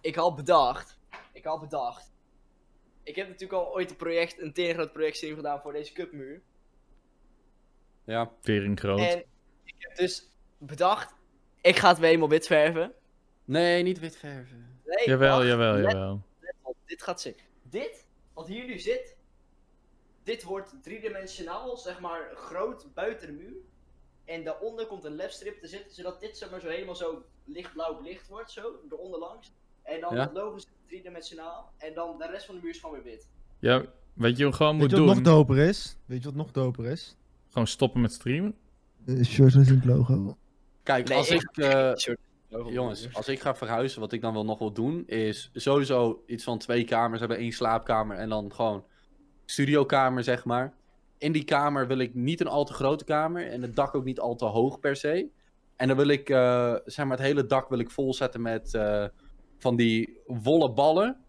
Ik had bedacht. Ik had bedacht. Ik heb natuurlijk al ooit een project, een tering groot projectstream gedaan voor deze cupmuur. Ja. Tering groot. En ik heb dus bedacht, ik ga het weer helemaal wit verven. Nee, niet wit verven. Nee, jawel, wacht, jawel, let jawel. Want dit gaat zitten. Dit, wat hier nu zit, dit wordt driedimensionaal, zeg maar, groot buiten de muur. En daaronder komt een labstrip te zitten, zodat dit zeg maar, zo helemaal zo lichtblauw licht wordt, zo, eronder langs. En dan Ja. het logo zit driedimensionaal, en dan de rest van de muur is gewoon weer wit. Ja, weet je wat je gewoon Weet moet je wat nog doen? doper is? Weet je wat nog doper is? Gewoon stoppen met streamen? Eh, Uh, Shorts in het logo. Kijk, Nee, als ik- ik... eh, Logo Jongens, als ik ga verhuizen, wat ik dan wel nog wil doen, is sowieso iets van twee kamers hebben, één slaapkamer en dan gewoon studiokamer, zeg maar. In die kamer wil ik niet een al te grote kamer en het dak ook niet al te hoog per se. En dan wil ik, eh, zeg maar, het hele dak wil ik volzetten met eh, van die wollen ballen.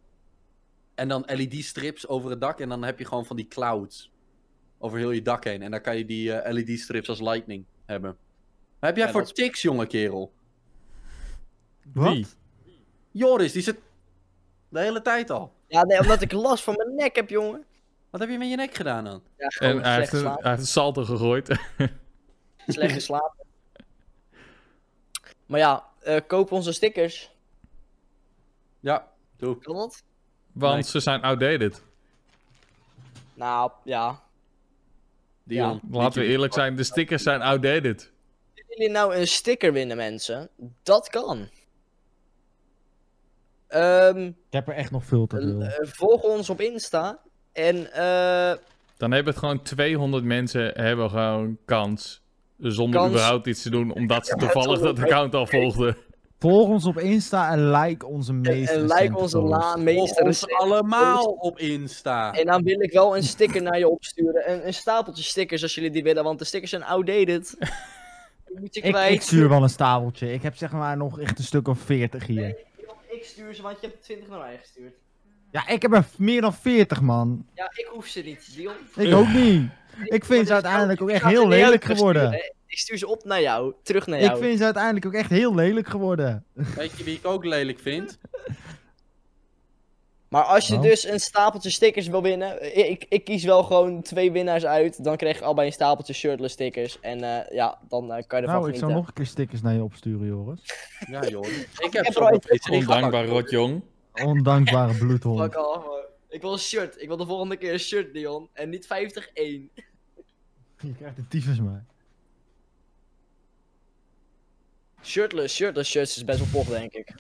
En dan LED-strips over het dak en dan heb je gewoon van die clouds over heel je dak heen. En dan kan je die eh, LED-strips als lightning hebben. Wat heb jij Ja, voor dat tics, jonge kerel? Wat? Wie? Joris, die zit de hele tijd al. Ja, nee, omdat ik last van mijn nek heb, jongen. Wat heb je met je nek gedaan dan? Ja, En gewoon hij slecht heeft, een, geslapen. hij heeft een salto gegooid. Slecht geslapen. maar ja, eh, koop onze stickers. Ja, doe. Kan dat? Want Nee. ze zijn outdated. Nou, ja. Dion. Ja. Laten we eerlijk zijn, de stickers zijn outdated. Willen jullie nou een sticker winnen, mensen? Dat kan. Ehm, Ik heb er echt nog veel te l- veel. eh, volg ons op Insta. En eh Dan hebben het gewoon 200 mensen hebben gewoon kans. Zonder Kans. überhaupt iets te doen, omdat ze toevallig zonder- dat account al volgden. Volg ons op Insta en like onze meest en like recente onze posts. la Volg meester. ons allemaal op Insta. En dan wil ik wel een sticker naar je opsturen. Een, een stapeltje stickers als jullie die willen, want de stickers zijn outdated. Die moet je Ik, kwijt. ik stuur wel een stapeltje. Ik heb zeg maar nog echt een stuk of 40 hier. Ik stuur ze, want je hebt 20 naar mij gestuurd. Ja, ik heb er meer dan 40 man. Ja, ik hoef ze niet. Dion. Ik ook niet. Ik vind ze uiteindelijk ook echt heel lelijk geworden. Ik stuur ze op naar jou, terug naar jou. Ik vind ze uiteindelijk ook echt heel lelijk geworden. Weet je wie ik ook lelijk vind? Maar als je Nou. dus een stapeltje stickers wil winnen, eh, ik, ik kies wel gewoon twee winnaars uit. Dan krijg je allebei een stapeltje shirtless stickers. En eh, ja, dan eh, kan je ervan Nou, ik genieten. zou nog een keer stickers naar je opsturen, Joris. Ja, joh. Ik heb heb zo'n er ooit- PC gehad. Ondankbaar rotjong. Ondankbare bloedhond. Fuck off, man. Ik wil een shirt. Ik wil de volgende keer een shirt, Dion. En niet 50-1. Je krijgt de tyfus maar. Shirtless, shirtless shirts is best wel pop, denk ik.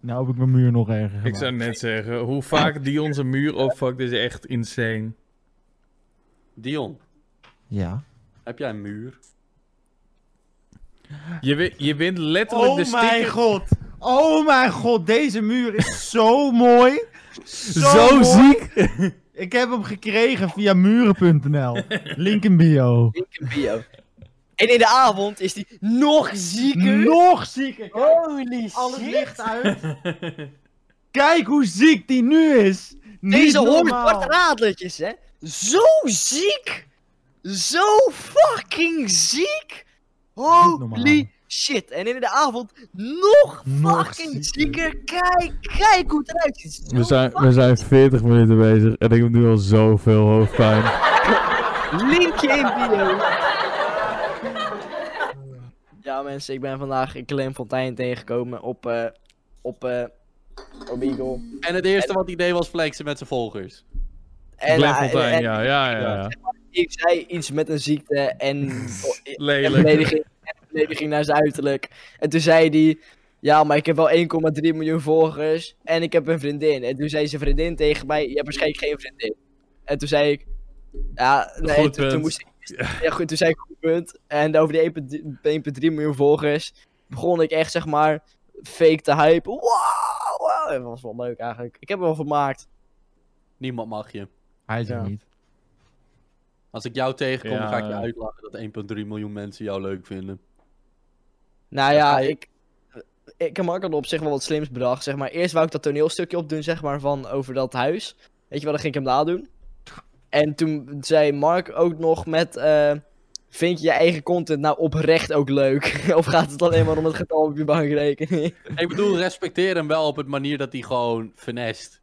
Nou heb ik mijn muur nog erger Ik zou gemaakt. net zeggen, hoe vaak die onze muur opvakt is echt insane. Dion, Ja. heb jij een muur? Je, wi- je wint letterlijk Oh de sticker. mijn god. Oh mijn god, deze muur is zo mooi. Zo, mooi. ziek! Ik heb hem gekregen via muren.nl. Link in bio. Link in bio. En in de avond is die nog zieker. Nog zieker! Kijk, Holy alles shit. licht uit. Kijk hoe ziek die nu is! Niet Deze hoort normaal. zwarte radertjes, hè? Zo ziek! Zo fucking ziek! normaal. Holy shit! En in de avond nog, Nog fucking zieker. zieker! Kijk, kijk hoe het eruit ziet! Zo We zijn, we fucking- zijn 40 minuten bezig en ik heb nu al zoveel hoofdpijn. Linkje in bio! ja mensen, ik ben vandaag Clem Fontijn tegengekomen op, eh op eh Omegle. En het eerste wat hij deed was flexen met zijn volgers. En, Glenn eh, Fontaine, en ja, ja, ja. ja. ik zei iets met een ziekte en oh, En Lelijk. belediging, en belediging naar zijn uiterlijk. En toen zei hij: Ja, maar ik heb wel 1,3 miljoen volgers. En ik heb een vriendin. En toen zei zijn vriendin tegen mij: Je hebt waarschijnlijk geen vriendin. En toen zei ik: Ja, nee. Goed toen, toen punt. moest ik. Ja, goed. Toen zei ik: Goed punt. En over die 1,3 miljoen volgers begon ik echt, zeg maar, fake te hypen. Wow, wow. Dat was wel leuk eigenlijk. Ik heb hem wel vermaakt. Niemand mag je. Hij zegt Ja. niet. Als ik jou tegenkom, Ja. ga ik je uitlachen dat 1,3 miljoen mensen jou leuk vinden. Nou ja, ik. Ik heb Marco op zich wel wat slims bedacht. Zeg maar. Eerst wou ik dat toneelstukje opdoen, zeg maar, van over dat huis. Weet je wel, dan ging ik hem nadoen. En toen zei Mark ook nog met. eh, Vind je je eigen content nou oprecht ook leuk? of gaat het alleen maar om het getal op je bankrekening? Ik bedoel, respecteer hem wel op het manier dat hij gewoon finest.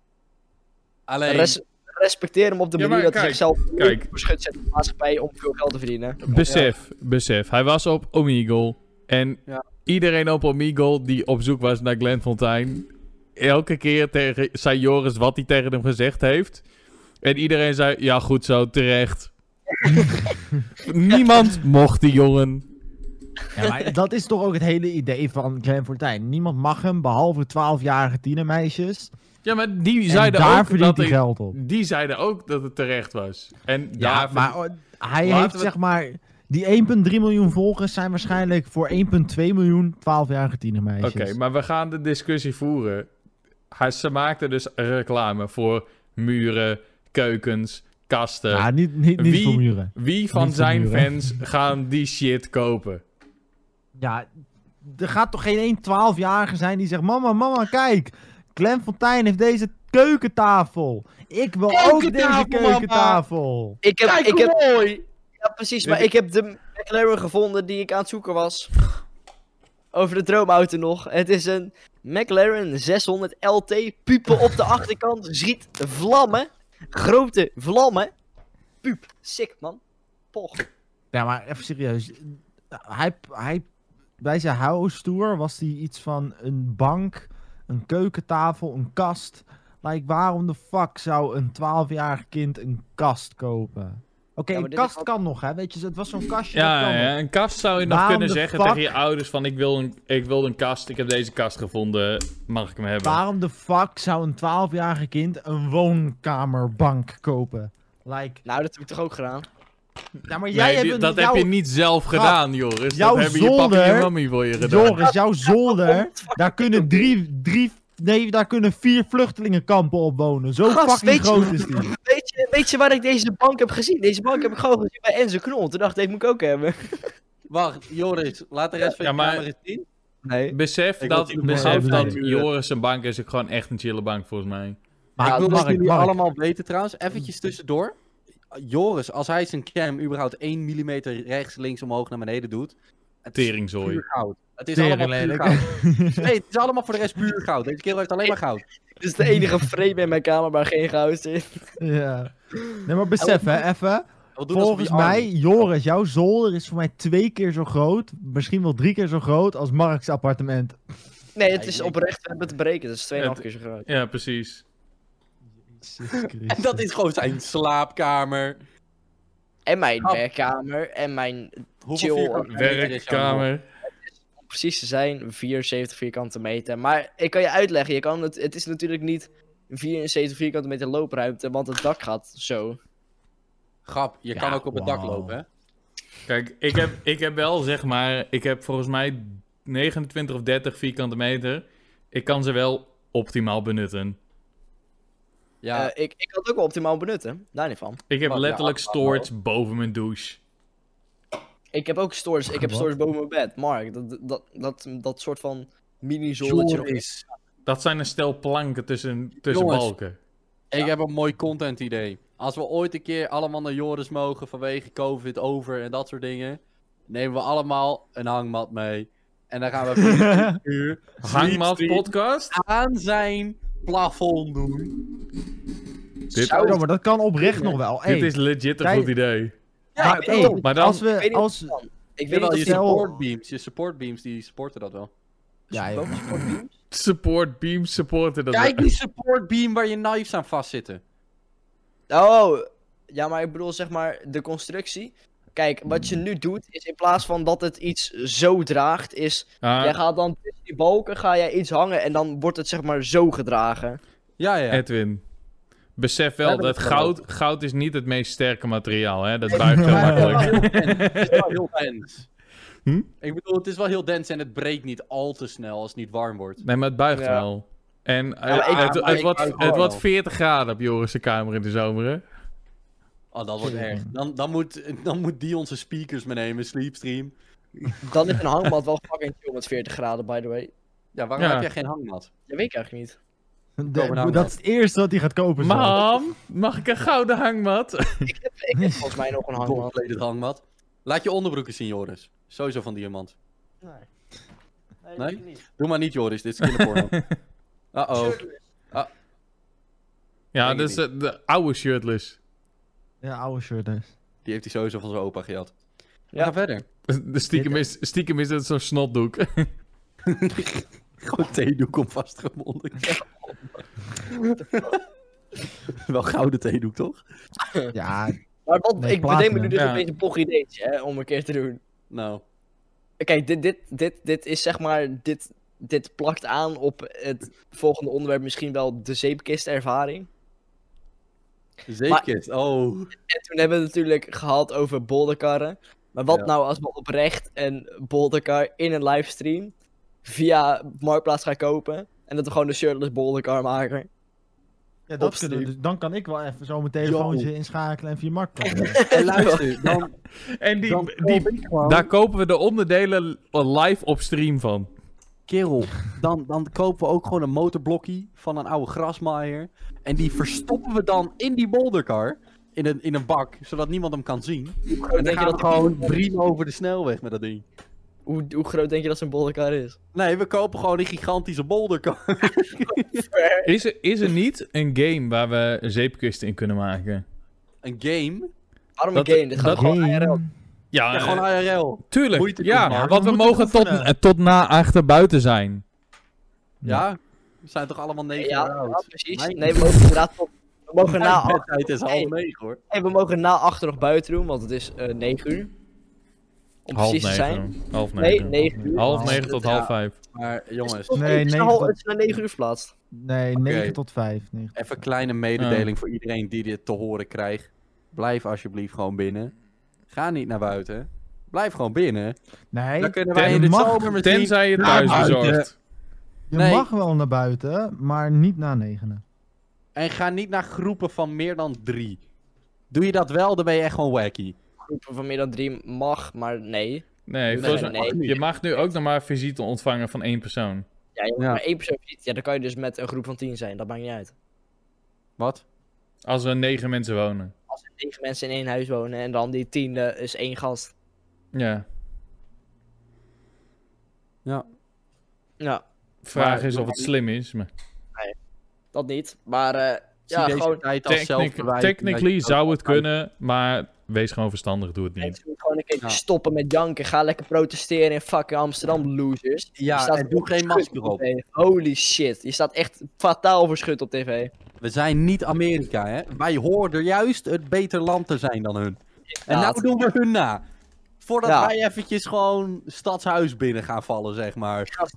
Alleen, Res- respecteer hem op de Ja, manier maar dat hij kijk, zichzelf kijk. beschut zet in de maatschappij om veel geld te verdienen. Besef, besef. Hij was op Omegle. En Ja. iedereen op Omegle die op zoek was naar Glenn Fontaine. Elke keer tegen, zei Joris wat hij tegen hem gezegd heeft. En iedereen zei, ja goed zo, terecht. Niemand mocht die jongen. Ja, maar dat is toch ook het hele idee van Glenn Fortuyn. Niemand mag hem, behalve 12-jarige tienermeisjes. Ja, maar die En zeiden daar ook verdient dat hij hij, geld op. Die zeiden ook dat het terecht was. En Ja, daar- maar oh, hij Laten heeft we- zeg maar... Die 1,3 miljoen volgers zijn waarschijnlijk voor 1,2 miljoen 12-jarige tienermeisjes. Oké, maar we gaan de discussie voeren. Hij, ze maakte dus reclame voor muren, keukens, kasten. Ja, niet, niet, niet eh, Wie- voor muren. Wie van Niet voor zijn muren. fans gaan die shit kopen? Ja, er gaat toch geen één 12-jarige zijn die zegt... Mama, mama, kijk. Glenn Fontaine heeft deze keukentafel. Ik wil ook deze Keukentafel, mama." keukentafel. Ik heb, kijk ik hoe heb, mooi! ja, precies, maar ik heb de McLaren gevonden die ik aan het zoeken was. Over de droomauto nog. Het is een McLaren 600 LT. Pupen op de achterkant. Ziet vlammen. Grote vlammen. Puup. Sick, man. Poch. Ja, maar even serieus. Hij, hij, bij zijn house tour was hij iets van een bank, een keukentafel, een kast. Like, waarom de fuck zou een 12-jarig kind een kast kopen? Oké, maar een dit is kast wat- kan nog, hè? Weet je, het was zo'n kastje. dat Ja, kan nog. ja, een kast zou je nog Waarom kunnen de zeggen fuck- tegen je ouders van ik wil, een, ik wil een kast, ik heb deze kast gevonden, mag ik hem hebben? Waarom de fuck zou een 12-jarige kind een woonkamerbank kopen? Like, Nou, dat heb ik toch ook gedaan? ja, maar Nee, jij die- hebt een- dat jouw- heb je niet zelf gedaan, Joris. jouw Dat hebben je papa en je zolder- mami voor je gedaan. Joris, jouw zolder, daar kunnen drie, drie, nee, daar kunnen vier vluchtelingenkampen op wonen. Zo Gast, fucking weet je- groot is die. Weet je, weet je waar ik deze bank heb gezien? Deze bank heb ik gewoon gezien bij Enzo Knol. Toen dacht ik, deze moet ik ook hebben. Wacht, Joris, laat de rest van Ja, je maar- camera eens zien. Nee. Besef wil dat, die nog besef wel dat doen. Joris een bank is ook gewoon echt een chille bank volgens mij. Maar ik wil dat Mark, jullie Mark, allemaal weten trouwens. Eventjes tussendoor. Joris, als hij zijn cam überhaupt 1 mm rechts, links, omhoog, naar beneden doet. Het is Teringzooi. puur goud. Het is Tering allemaal puur lelijk. goud. Nee, het is allemaal voor de rest puur goud. Deze kerel heeft alleen maar goud. Dit is de enige frame in mijn kamer waar geen goud zit. Ja. Nee, maar besef hè, even. Wat doen alsof Volgens hij arm mij, is. Joris, jouw zolder is voor mij twee keer zo groot, misschien wel drie keer zo groot als Mark's appartement. Nee, het is oprecht. We hebben het breken. Dat is 2,5 Het- keer zo groot. Ja, precies. En dat is gewoon zijn slaapkamer. En mijn Oh. werkkamer. En mijn Hoeveel Chill, vierkante meter is jouw woning? Werkkamer. precies te zijn 74 vierkante meter. Maar ik kan je uitleggen, je kan het, het is natuurlijk niet 74 vierkante meter loopruimte, want het dak gaat zo. Grap, je Ja, kan ook op het dak wauw. lopen, hè? Kijk, ik heb, ik heb wel zeg maar, ik heb volgens mij 29 of 30 vierkante meter. Ik kan ze wel optimaal benutten. Ja, Eh, ik, ik kan het ook wel optimaal benutten, daar niet van. Ik heb Wat, ja, letterlijk wat, storage boven mijn douche. Ik heb ook stores. Ik heb Wat? stores boven mijn bed. Mark, dat, dat, dat, dat soort van mini-zoletje. nog- Joris, Dat zijn een stel planken tussen, tussen Jongens. balken. ik heb een mooi content idee. Als we ooit een keer allemaal naar Joris mogen vanwege COVID over en dat soort dingen, nemen we allemaal een hangmat mee. En dan gaan we uur Hangmat Sleep Nou, podcast? aan zijn plafond doen. Dit, Zou- Ja, maar dat kan oprecht nog wel. Hey, dit is legit een Jij- goed idee. Ja, maar, ik hey, weet niet- Maar dan- als ik we... weet niet Als, ik weet niet Jawel, of je die- stel- support beams, je support beams, die supporten dat wel. ja, Boven support beams? Support, beam, supporten. Dat Kijk die support beam waar je knives aan vastzitten. Oh, ja, maar ik bedoel zeg maar de constructie. Kijk, wat je nu doet is in plaats van dat het iets zo draagt, is Ah, jij gaat dan tussen die balken ga jij iets hangen en dan wordt het zeg maar zo gedragen. Ja, ja. Edwin. Besef We wel hebben dat het wel goud, goud is niet het meest sterke materiaal. Hè? Dat buigt heel Ja. makkelijk. Het is wel heel dense. Hm? Ik bedoel, het is wel heel dense en het breekt niet al te snel als het niet warm wordt. Nee, maar het buigt Ja. wel. En eh, maar ik- het, maar het ik wordt, buig het wel. wordt 40 graden op Joris' kamer in de zomer. Hè? Oh, dat wordt erg. Dan, dan, moet, dan moet die onze speakers meenemen, Sleepstream. Dan is een hangmat wel fucking chill met 40 graden, by the way. Ja, waarom Ja. heb jij geen hangmat? Dat weet ik eigenlijk niet. de- Kopenhagen. dat is het eerste wat hij gaat kopen. zo. Mam, mag ik een gouden hangmat? Ik heb, ik heb volgens mij nog een hangmat. Volgekleed hangmat. Laat je onderbroeken zien, Joris. Sowieso van diamant. Nee, Nee? Doe maar niet, Joris. Dit is kinderporno. Uh-oh. ja, Denk dat is ik eh, de oude shirtless. Ja, oude shirt dus. Die heeft hij sowieso van zijn opa gehad. Ja. Ja. Ga verder. De Dus stiekem, is, stiekem is dat zo'n snotdoek. Gewoon theedoek om vastgemonden. Wel gouden theedoek, toch? Ja, Maar wat, Nee, ik bedenk me nu platinum. dus Ja. een beetje een boch ideetje hè, om een keer te doen. Nou. Kijk, dit, dit, dit, dit is zeg maar, dit, dit plakt aan op het volgende onderwerp, misschien wel de zeepkistervaring. Zeepkist. Oh. En toen hebben we het natuurlijk gehad over bolderkarren. Maar wat Ja. nou als we oprecht een bolderkar in een livestream via Marktplaats gaan kopen? En dat we gewoon de shirtless bolderkar maken. ja Op dat kunnen we Steam. dus. Dan kan ik wel even zo mijn telefoontje inschakelen en via Marktplaats. En luister, dan, En die, dan die, koop ik gewoon- daar kopen we de onderdelen live op stream van. kerel, dan, dan kopen we ook gewoon een motorblokkie van een oude grasmaaier. En die verstoppen we dan in die bolderkar. In een, in een bak, zodat niemand hem kan zien. Hoe groot, En dan denk je gaan we dat, gewoon prima over de snelweg met dat ding. hoe, hoe groot denk je dat zo'n bolderkar is? Nee, we kopen gewoon een gigantische bolderkar. Is er, is er niet een game waar we zeepkisten in kunnen maken? Een game? Waarom Dat- een game? Dit gaat dat- gewoon Game. IRL. Ja, Ja, eh, gewoon IRL. tuurlijk. moeite doen, Ja, maar. want we We moeten mogen tot, oefenen. eh, tot na achter buiten zijn. Ja? We zijn toch allemaal negen Ja, Nou, jaar ja, oud? precies. Mijn- Nee, we mogen inderdaad tot- we mogen na Mijn acht- tijd is half negen hoor. nee, we mogen na achter nog buiten doen, want het is eh 9 uur. Om half precies te negen. zijn. Half Nee, negen. 9 uur. Half Ja. negen tot half vijf. Maar jongens, Nee, Nee, negen tot- Het is naar 9 uur verplaatst. Nee, 9 tot 5. even een kleine mededeling voor iedereen die dit te horen krijgt. Blijf alsjeblieft gewoon binnen. Ga niet naar buiten. Blijf gewoon binnen. Nee, Dan kunnen Ten- wij in de mag- zomer misschien... Tenzij je thuis buiten. bezorgt. je nee. mag wel naar buiten, maar niet na negenen. En ga niet naar groepen van meer dan drie. Doe je dat wel, dan ben je echt gewoon wacky. Groepen van meer dan 3 mag, maar nee. Nee, Nee, volgens mij- nee. je mag nu ook nog maar visite ontvangen van één persoon. Ja, je mag Ja. maar één persoon fietsen. Ja, dan kan je dus met een groep van 10 zijn. Dat maakt niet uit. Wat? Als er negen mensen wonen. Als er 9 mensen in één huis wonen en dan die tiende is één gast. Ja. Ja, Vraag Maar- is of het slim is. Maar dat niet. Maar eh, Zie ja, deze gewoon, tijd als technic- zelfverwijt. technically zou het kunnen, maar wees gewoon verstandig, doe het niet. mensen moeten gewoon een keertje Ja. stoppen met janken. Ga lekker protesteren in fucking Amsterdam, losers. Je Ja, staat en doe geen masker op. TV. Holy shit, je staat echt fataal verschut op tv. We zijn niet Amerika, hè. Wij hoorden juist het beter land te zijn dan hun. En nou doen we hun na. Voordat Ja. wij eventjes gewoon stadshuis binnen gaan vallen, zeg maar. Gast,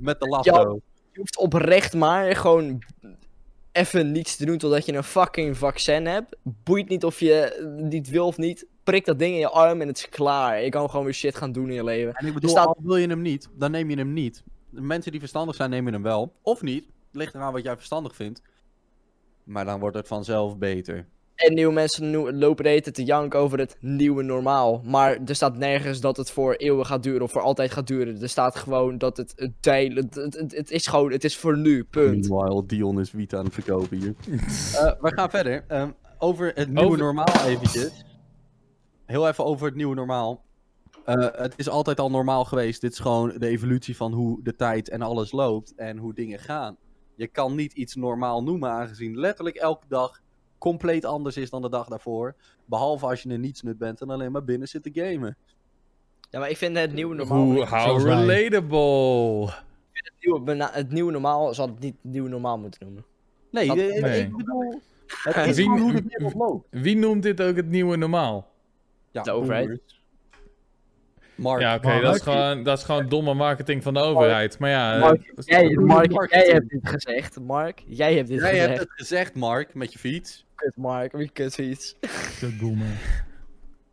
Met de lasso. Je hoeft oprecht maar gewoon even niets te doen totdat je een fucking vaccin hebt. Boeit niet of je niet wil of niet. Prik dat ding in je arm en het is klaar. Je kan gewoon weer shit gaan doen in je leven. En ik bedoel, staat- al wil je hem niet, dan neem je hem niet. De mensen die verstandig zijn, nemen hem wel. Of niet. Ligt eraan wat jij verstandig vindt. Maar dan wordt het vanzelf beter. En nieuwe mensen nieuw- lopen de hele tijd te janken over het nieuwe normaal. Maar er staat nergens dat het voor eeuwen gaat duren of voor altijd gaat duren. Er staat gewoon dat het een tijd. Het, het, het is gewoon, het is voor nu, punt. Meanwhile, Dion is wiet aan het verkopen hier. Eh, we gaan verder. Ehm, over het nieuwe Over- normaal eventjes. Heel even over het nieuwe normaal. Eh, het is altijd al normaal geweest. Dit is gewoon de evolutie van hoe de tijd en alles loopt en hoe dingen gaan. Je kan niet iets normaal noemen aangezien letterlijk elke dag compleet anders is dan de dag daarvoor. Behalve als je een nietsnut bent en alleen maar binnen zit te gamen. Ja, maar ik vind het nieuwe normaal. Hoe ik vind how zoals wij. relatable. het, nieuwe, bena- het nieuwe normaal zal het niet nieuw normaal moeten noemen. Nee, Dat- eh, nee. ik bedoel... Het is Wie- gewoon hoe de wereld loopt. Wie noemt dit ook het nieuwe normaal? Ja, De overheid. boomers. Mark. Ja, oké, Mark. dat, is gewoon- dat is gewoon domme marketing van de overheid. Maar ja, eh, Mark, dat is- Jij, Mark, marketing. jij hebt dit gezegd. Mark, jij hebt dit Jij gezegd. hebt het gezegd, Mark, met je fiets. Kut, Mark, wie kut iets. Kutboomer.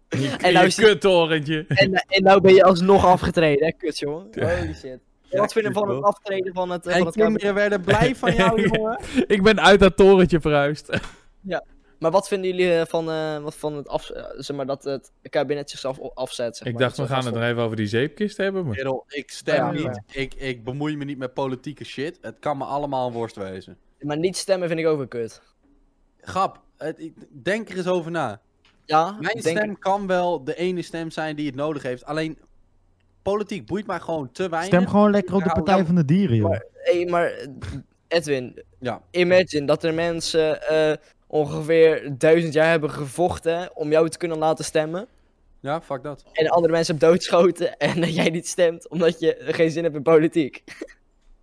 En nou, is- eh, je kuttorentje. en, en nou ben je alsnog afgetreden, hè? Kut, jongen. Holy shit. Wat vinden we van kut, het aftreden van het, eh, En van het kabinet? kinderen werden blij van jou, jongen. Ik ben uit dat torentje verhuisd. Maar wat vinden jullie eh, van, eh, wat van het af, eh, zeg maar, dat het kabinet zichzelf o- afzet? Zeg Ik maar. dacht, we Dat gaan is het wel- nog even over die zeepkist hebben. Maar... Kerel, ik stem Ja, niet. ja. Ik, ik bemoei me niet met politieke shit. Het kan me allemaal een worst wezen. Maar niet stemmen vind ik ook een kut. Grap, het- ik- denk er eens over na. Ja, Mijn denk- stem kan wel de ene stem zijn die het nodig heeft. Alleen, politiek boeit mij gewoon te weinig. Stem gewoon lekker op de Nou, Partij nou- van de Dieren, joh. Hey, maar eh, Edwin, Ja. imagine dat er mensen eh, ongeveer duizend jaar hebben gevochten om jou te kunnen laten stemmen. Ja, fuck dat. En andere mensen hebben doodgeschoten en dat jij niet stemt omdat je geen zin hebt in politiek.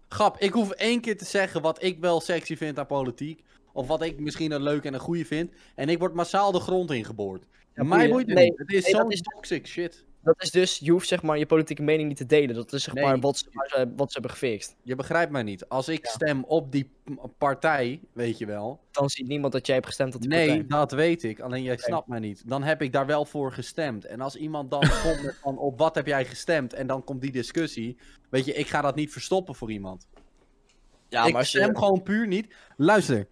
Grap, ik hoef één keer te zeggen wat ik wel sexy vind aan politiek. Of wat ik misschien een leuk en een goeie vind. En ik word massaal de grond ingeboord. Ja, mij boeien. boeit het Nee, niet. Het is nee, zo'n dat is- toxic shit. Dat is dus, je hoeft zeg maar je politieke mening niet te delen. Dat is zeg Nee. maar wat ze, waar ze- wat ze hebben gefixt. Je begrijpt mij niet. Als ik stem op die p- partij, weet je wel. Dan ziet niemand dat jij hebt gestemd op die Nee, partij. dat weet ik. Alleen jij snapt mij niet. Dan heb ik daar wel voor gestemd. En als iemand dan komt met van op wat heb jij gestemd? En dan komt die discussie. Weet je, ik ga dat niet verstoppen voor iemand. Ja, ik stem gewoon puur niet. Luister,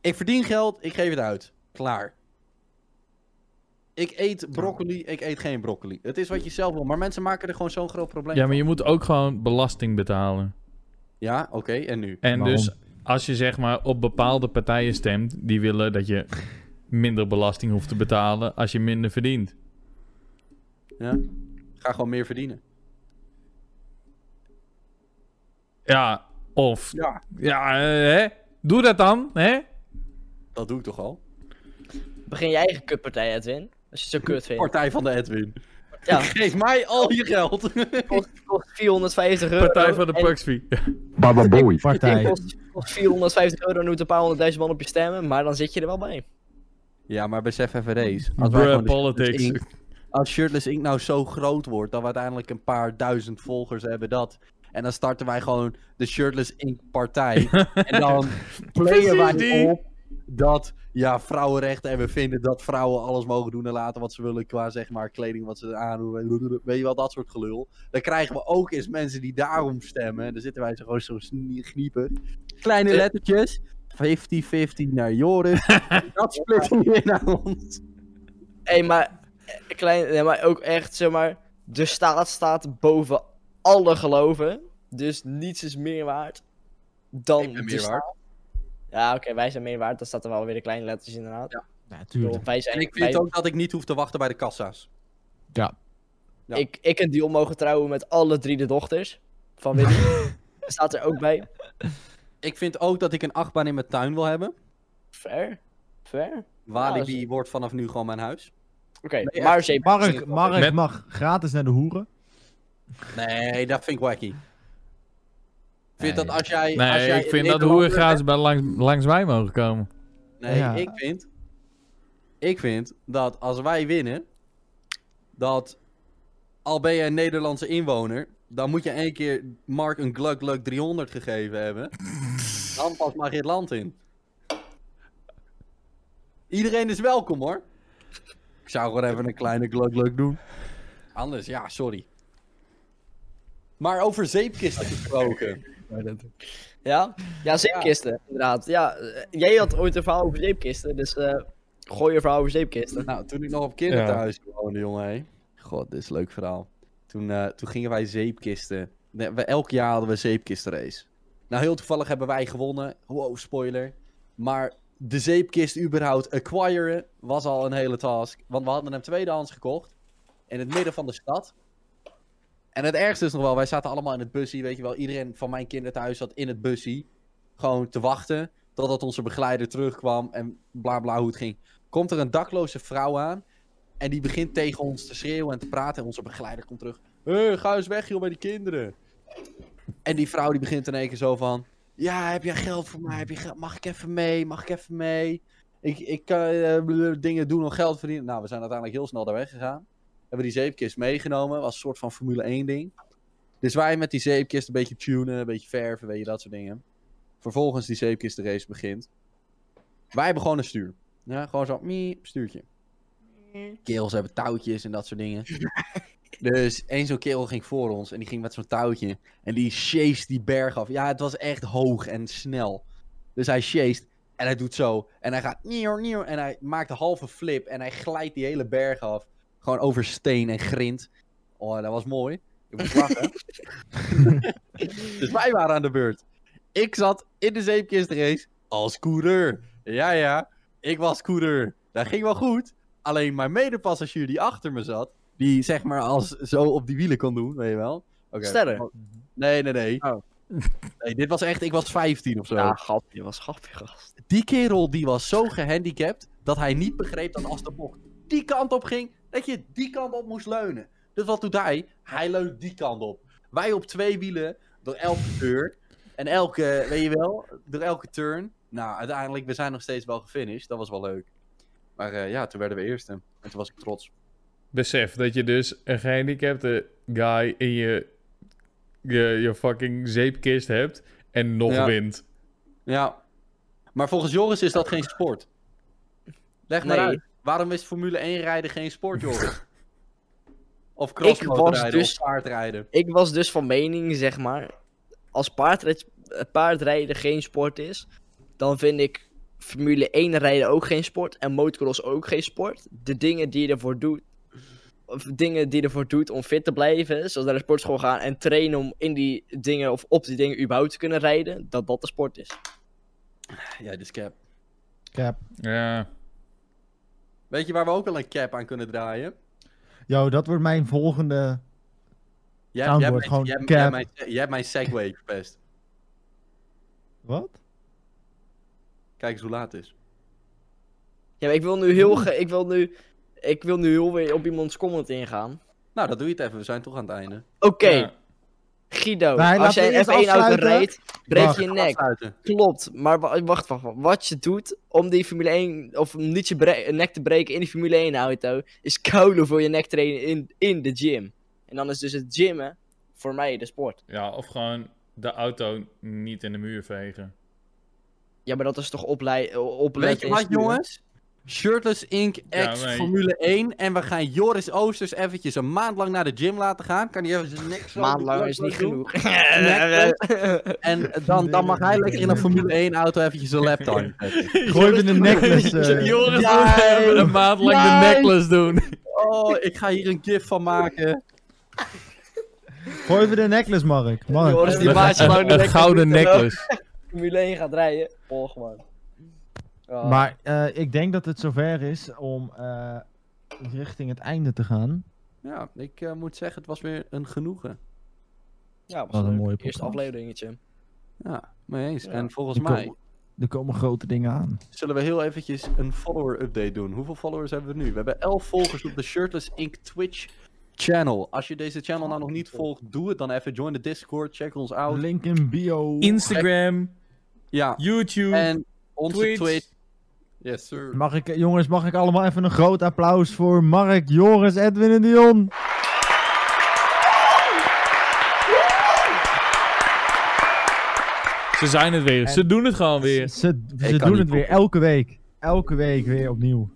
ik verdien geld, ik geef het uit. Klaar. Ik eet broccoli, ik eet geen broccoli. Het is wat je zelf wil. Maar mensen maken er gewoon zo'n groot probleem Ja, maar van. je moet ook gewoon belasting betalen. Ja, oké, en nu? En Waarom? dus als je zeg maar op bepaalde partijen stemt, die willen dat je minder belasting hoeft te betalen als je minder verdient. Ja? Ga gewoon meer verdienen. Ja, of Ja. ja, eh, hè? Doe dat dan, hè? Dat doe ik toch al? Begin je eigen kutpartij, Edwin. Als je het zo kut vindt. Partij van de Edwin. Ja, Geef mij al je geld. kost, kost 450 euro. Partij van de en- Puxby. Baba boy. Het Partij. kost, kost 450 euro en doet een paar honderdduizend man op je stemmen, maar dan zit je er wel bij. Ja, maar besef even deze. Als, wij Bruh, gewoon de Shirtless politics. Inc- als Shirtless Inc. nou zo groot wordt dat we uiteindelijk een paar duizend volgers hebben dat. En dan starten wij gewoon de Shirtless Inc. partij. en dan playen wij Precies die. op dat, ja, vrouwenrechten. En we vinden dat vrouwen alles mogen doen en laten wat ze willen qua, zeg maar, kleding wat ze aandoen. Weet je wel, dat soort gelul. Dan krijgen we ook eens mensen die daarom stemmen. En dan zitten wij zo gewoon zo snie- kniepen. Kleine lettertjes. 50-50 naar Joris. dat splitsen we weer naar ons. Hé, maar, eh, klein, nee, maar ook echt, zeg maar, de staat staat boven alle geloven. Dus niets is meer waard dan Ik ben de meer staat. waard. Ja, oké, wij zijn meer waard. Dat staat er wel weer de kleine letters inderdaad. Ja, Ik tuurlijk. bedoel, wij zijn, En ik vind wij- ook dat ik niet hoef te wachten bij de kassa's. ja. ik, ik en Dion mogen trouwen met alle drie de dochters van Willy. staat er ook bij. Ik vind ook dat ik een achtbaan in mijn tuin wil hebben. Fair. Fair. Walibi Ja, wordt vanaf nu gewoon mijn huis. Oké, maar zeep. Mark, Mark Met- mag gratis naar de hoeren. Nee, dat vind ik wacky. Ik vind dat als jij... als Nee, jij ik een vind dat Nederlander hoeren gratis bij langs, langs mij mogen komen. bent- Nee, Ja. ik vind... Ik vind dat als wij winnen... Dat... Al ben je een Nederlandse inwoner... Dan moet je één keer Mark een Glug Glug 300 gegeven hebben. Dan pas mag je het land in. Iedereen is welkom hoor. Ik zou gewoon even een kleine glug glug doen. Anders, ja, sorry. Maar over zeepkisten gesproken. Ja? Ja, zeepkisten, inderdaad. Ja, eh, jij had ooit een verhaal over zeepkisten, dus eh, Gooi je verhaal over zeepkisten. Nou, toen ik nog op kinderen Ja. thuis woonde, jongen. hé. God, dit is een leuk verhaal. Toen, eh, toen gingen wij zeepkisten. Nee, we, elk jaar hadden we een zeepkistenrace. Nou, heel toevallig hebben wij gewonnen. Wow, spoiler. Maar de zeepkist überhaupt acquiren was al een hele task. Want we hadden hem tweedehands gekocht. In het midden van de stad. En het ergste is nog wel, wij zaten allemaal in het busje. Weet je wel, iedereen van mijn kinderen thuis zat in het busje. Gewoon te wachten. Totdat onze begeleider terugkwam. En bla bla hoe het ging komt er een dakloze vrouw aan. En die begint tegen ons te schreeuwen en te praten. En onze begeleider komt terug. Hé, ga eens weg joh bij die kinderen. En die vrouw die begint in één keer zo van... Ja, heb jij geld voor mij? Heb je geld? Mag ik even mee? Mag ik even mee? Ik, ik kan eh, bl- dingen doen om geld verdienen. Nou, we zijn uiteindelijk heel snel daar weggegaan. Hebben die zeepkist meegenomen. Was een soort van Formule 1 ding. Dus wij met die zeepkist een beetje tunen, een beetje verven, weet je, dat soort dingen. Vervolgens die zeepkist de race begint. Wij hebben gewoon een stuur. Ja, gewoon zo, mie, stuurtje. Kerels hebben touwtjes en dat soort dingen. dus één zo'n kerel ging voor ons en die ging met zo'n touwtje. En die chased die berg af. Ja, het was echt hoog en snel. Dus hij chased en hij doet zo. En hij gaat nieuw, nieuw. En hij maakt een halve flip en hij glijdt die hele berg af. Gewoon over steen en grind. Oh, dat was mooi. Ik moest lachen. dus wij waren aan de beurt. Ik zat in de zeepkistrace als coureur. Ja, ja. Ik was coureur. Dat ging wel goed. Alleen mijn medepassagier die achter me zat, die zeg maar als zo op die wielen kon doen, weet je wel. Oké. Sterren. Oh, Nee, nee, nee. Oh. Nee, dit was echt, ik was 15 of zo. Ja, grapje, was grapje, gast. Die kerel die was zo gehandicapt dat hij niet begreep dat als de bocht die kant op ging, dat je die kant op moest leunen. Dus wat doet hij? Hij leunt die kant op. Wij op twee wielen door elke deur en elke, weet je wel, door elke turn. Nou, uiteindelijk, we zijn nog steeds wel gefinished. Dat was wel leuk. Maar eh, ja, toen werden we eerste. En toen was ik trots. Besef dat je dus een gehandicapte guy in je, je, je fucking zeepkist hebt en nog Ja. wint. Ja. Maar volgens Joris is dat geen sport. Leg maar Nee. uit. Waarom is Formule 1 rijden geen sport, Joris? was Of crossbootrijden dus- of paardrijden? Ik was dus van mening, zeg maar, als paardrijd, eh, paardrijden geen sport is, dan vind ik Formule 1 rijden ook geen sport en motocross ook geen sport. De dingen die je ervoor doet, of dingen die je ervoor doet om fit te blijven, zoals naar de sportschool gaan en trainen om in die dingen of op die dingen überhaupt te kunnen rijden, dat dat de sport is. Ja, dus cap. Cap. Ja. Weet je waar we ook wel een cap aan kunnen draaien? Yo, dat wordt mijn volgende... Jij, Soundboard, jij, hebt mijn- gewoon jij, cap. jij hebt mijn, jij hebt mijn segway verpest. Wat? Kijk eens hoe laat het is. Ja, maar ik wil nu heel, ge- ik wil nu, ik wil nu heel weer op iemands comment ingaan. Nou, dat doe je het even. We zijn toch aan het einde. Oké, Ja. Guido, Nee, laten als we jij eerst F1-auto afsluiten. rijdt, breek Wacht. je nek. Afsluiten. Klopt, maar wa- wacht, wacht, wacht. Wat je doet om die Formule 1, of om niet je bre- nek te breken in die Formule 1 auto, is koulen voor je nek trainen in, in de gym. En dan is dus het gymmen voor mij de sport. ja, of gewoon de auto niet in de muur vegen. Ja, maar dat is toch oplei- eh, opletten. Weet je en wat, sturen? jongens? Shirtless Inc. X Ja, maar- Formule 1. En we gaan Joris Oosters eventjes een maand lang naar de gym laten gaan. Kan hij even zijn nek zo... Maand lang is niet genoeg. eh, En dan, dan mag hij lekker in een Formule 1 auto eventjes een laptop. Gooi me een necklace. eh. Joris moet even een maand lang de Nee. necklace doen. Oh, ik ga hier een gif van maken. Gooi even de necklace, Mark. Mark. Joris, die baas gewoon de Een nek- gouden doet en ook necklace. Formule 1 gaat rijden. Oh, gewoon. Oh. Maar eh, ik denk dat het zover is om eh, richting het einde te gaan. Ja, ik eh, moet zeggen, het was weer een genoegen. ja, was Wat een leuk. mooie Eerste podcast. afleveringetje. Ja, mee eens. Ja. En volgens Die mij Er komen grote dingen aan. zullen we heel eventjes een follower update doen. Hoeveel followers hebben we nu? We hebben 11 volgers op de Shirtless Inc. Twitch channel. Als je deze channel nou nog niet volgt, doe het dan even. Join de Discord, check ons out. Link in bio. Instagram, Ja, YouTube, en onze Twitch. Twitch. Yes, sir. Mag ik, jongens, mag ik allemaal even een groot applaus voor Mark, Joris, Edwin en Dion? Ze zijn het weer. Ze doen het gewoon weer. Ze, ze kan doen niet het weer poepen. elke week. Elke week weer opnieuw.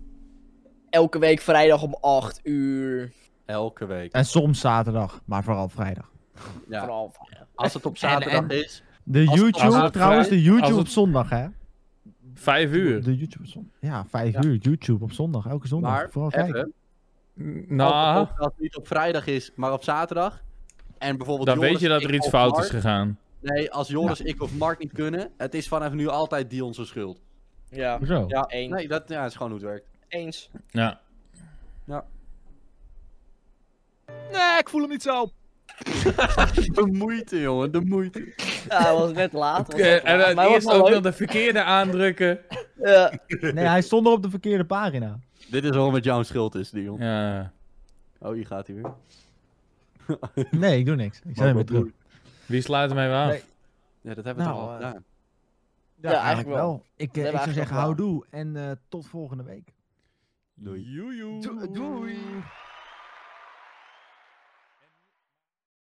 Elke week vrijdag om 8 uur. Elke week. En soms zaterdag, maar vooral vrijdag. Ja, Vooral als het op zaterdag is. De als het YouTube, op- trouwens, de als YouTube het- op zondag, hè? Vijf uur. De YouTube op zondag. Ja, vijf Ja. uur YouTube op zondag. Elke zondag. Maar, Vooral kijken. Even, Nou, als het niet op vrijdag is, maar op zaterdag. En bijvoorbeeld dan Joris, weet je dat ik er iets of fout oh, is Mark- gegaan. Nee, als Joris, ik of Mark niet kunnen, het is vanaf nu altijd Dion's schuld. Ja, Zo. Ja, Eens. nee, dat ja, is gewoon hoe het werkt. eens. Ja. Nee, ik voel hem niet zo. De moeite, jongen, de moeite. Ja, hij was net laat. was net en laat, dan maar hij was eerst wel ook leuk. nog de verkeerde aandrukken. Ja. Nee, hij stond er op de verkeerde pagina. Dit is waarom het jouw schuld is, Dion. Ja. Oh, hier gaat hij weer. Nee, ik doe niks. Ik Maar zei hem wat terug. doe- Wie sluit hem even af? Nee. Ja, dat hebben we Nou, toch al eh, gedaan. Ja, eigenlijk wel. Ik, eh, ik hebben zou eigenlijk zeggen, wel. houdoe en eh, tot volgende week. Doei. Joejoe. Doei.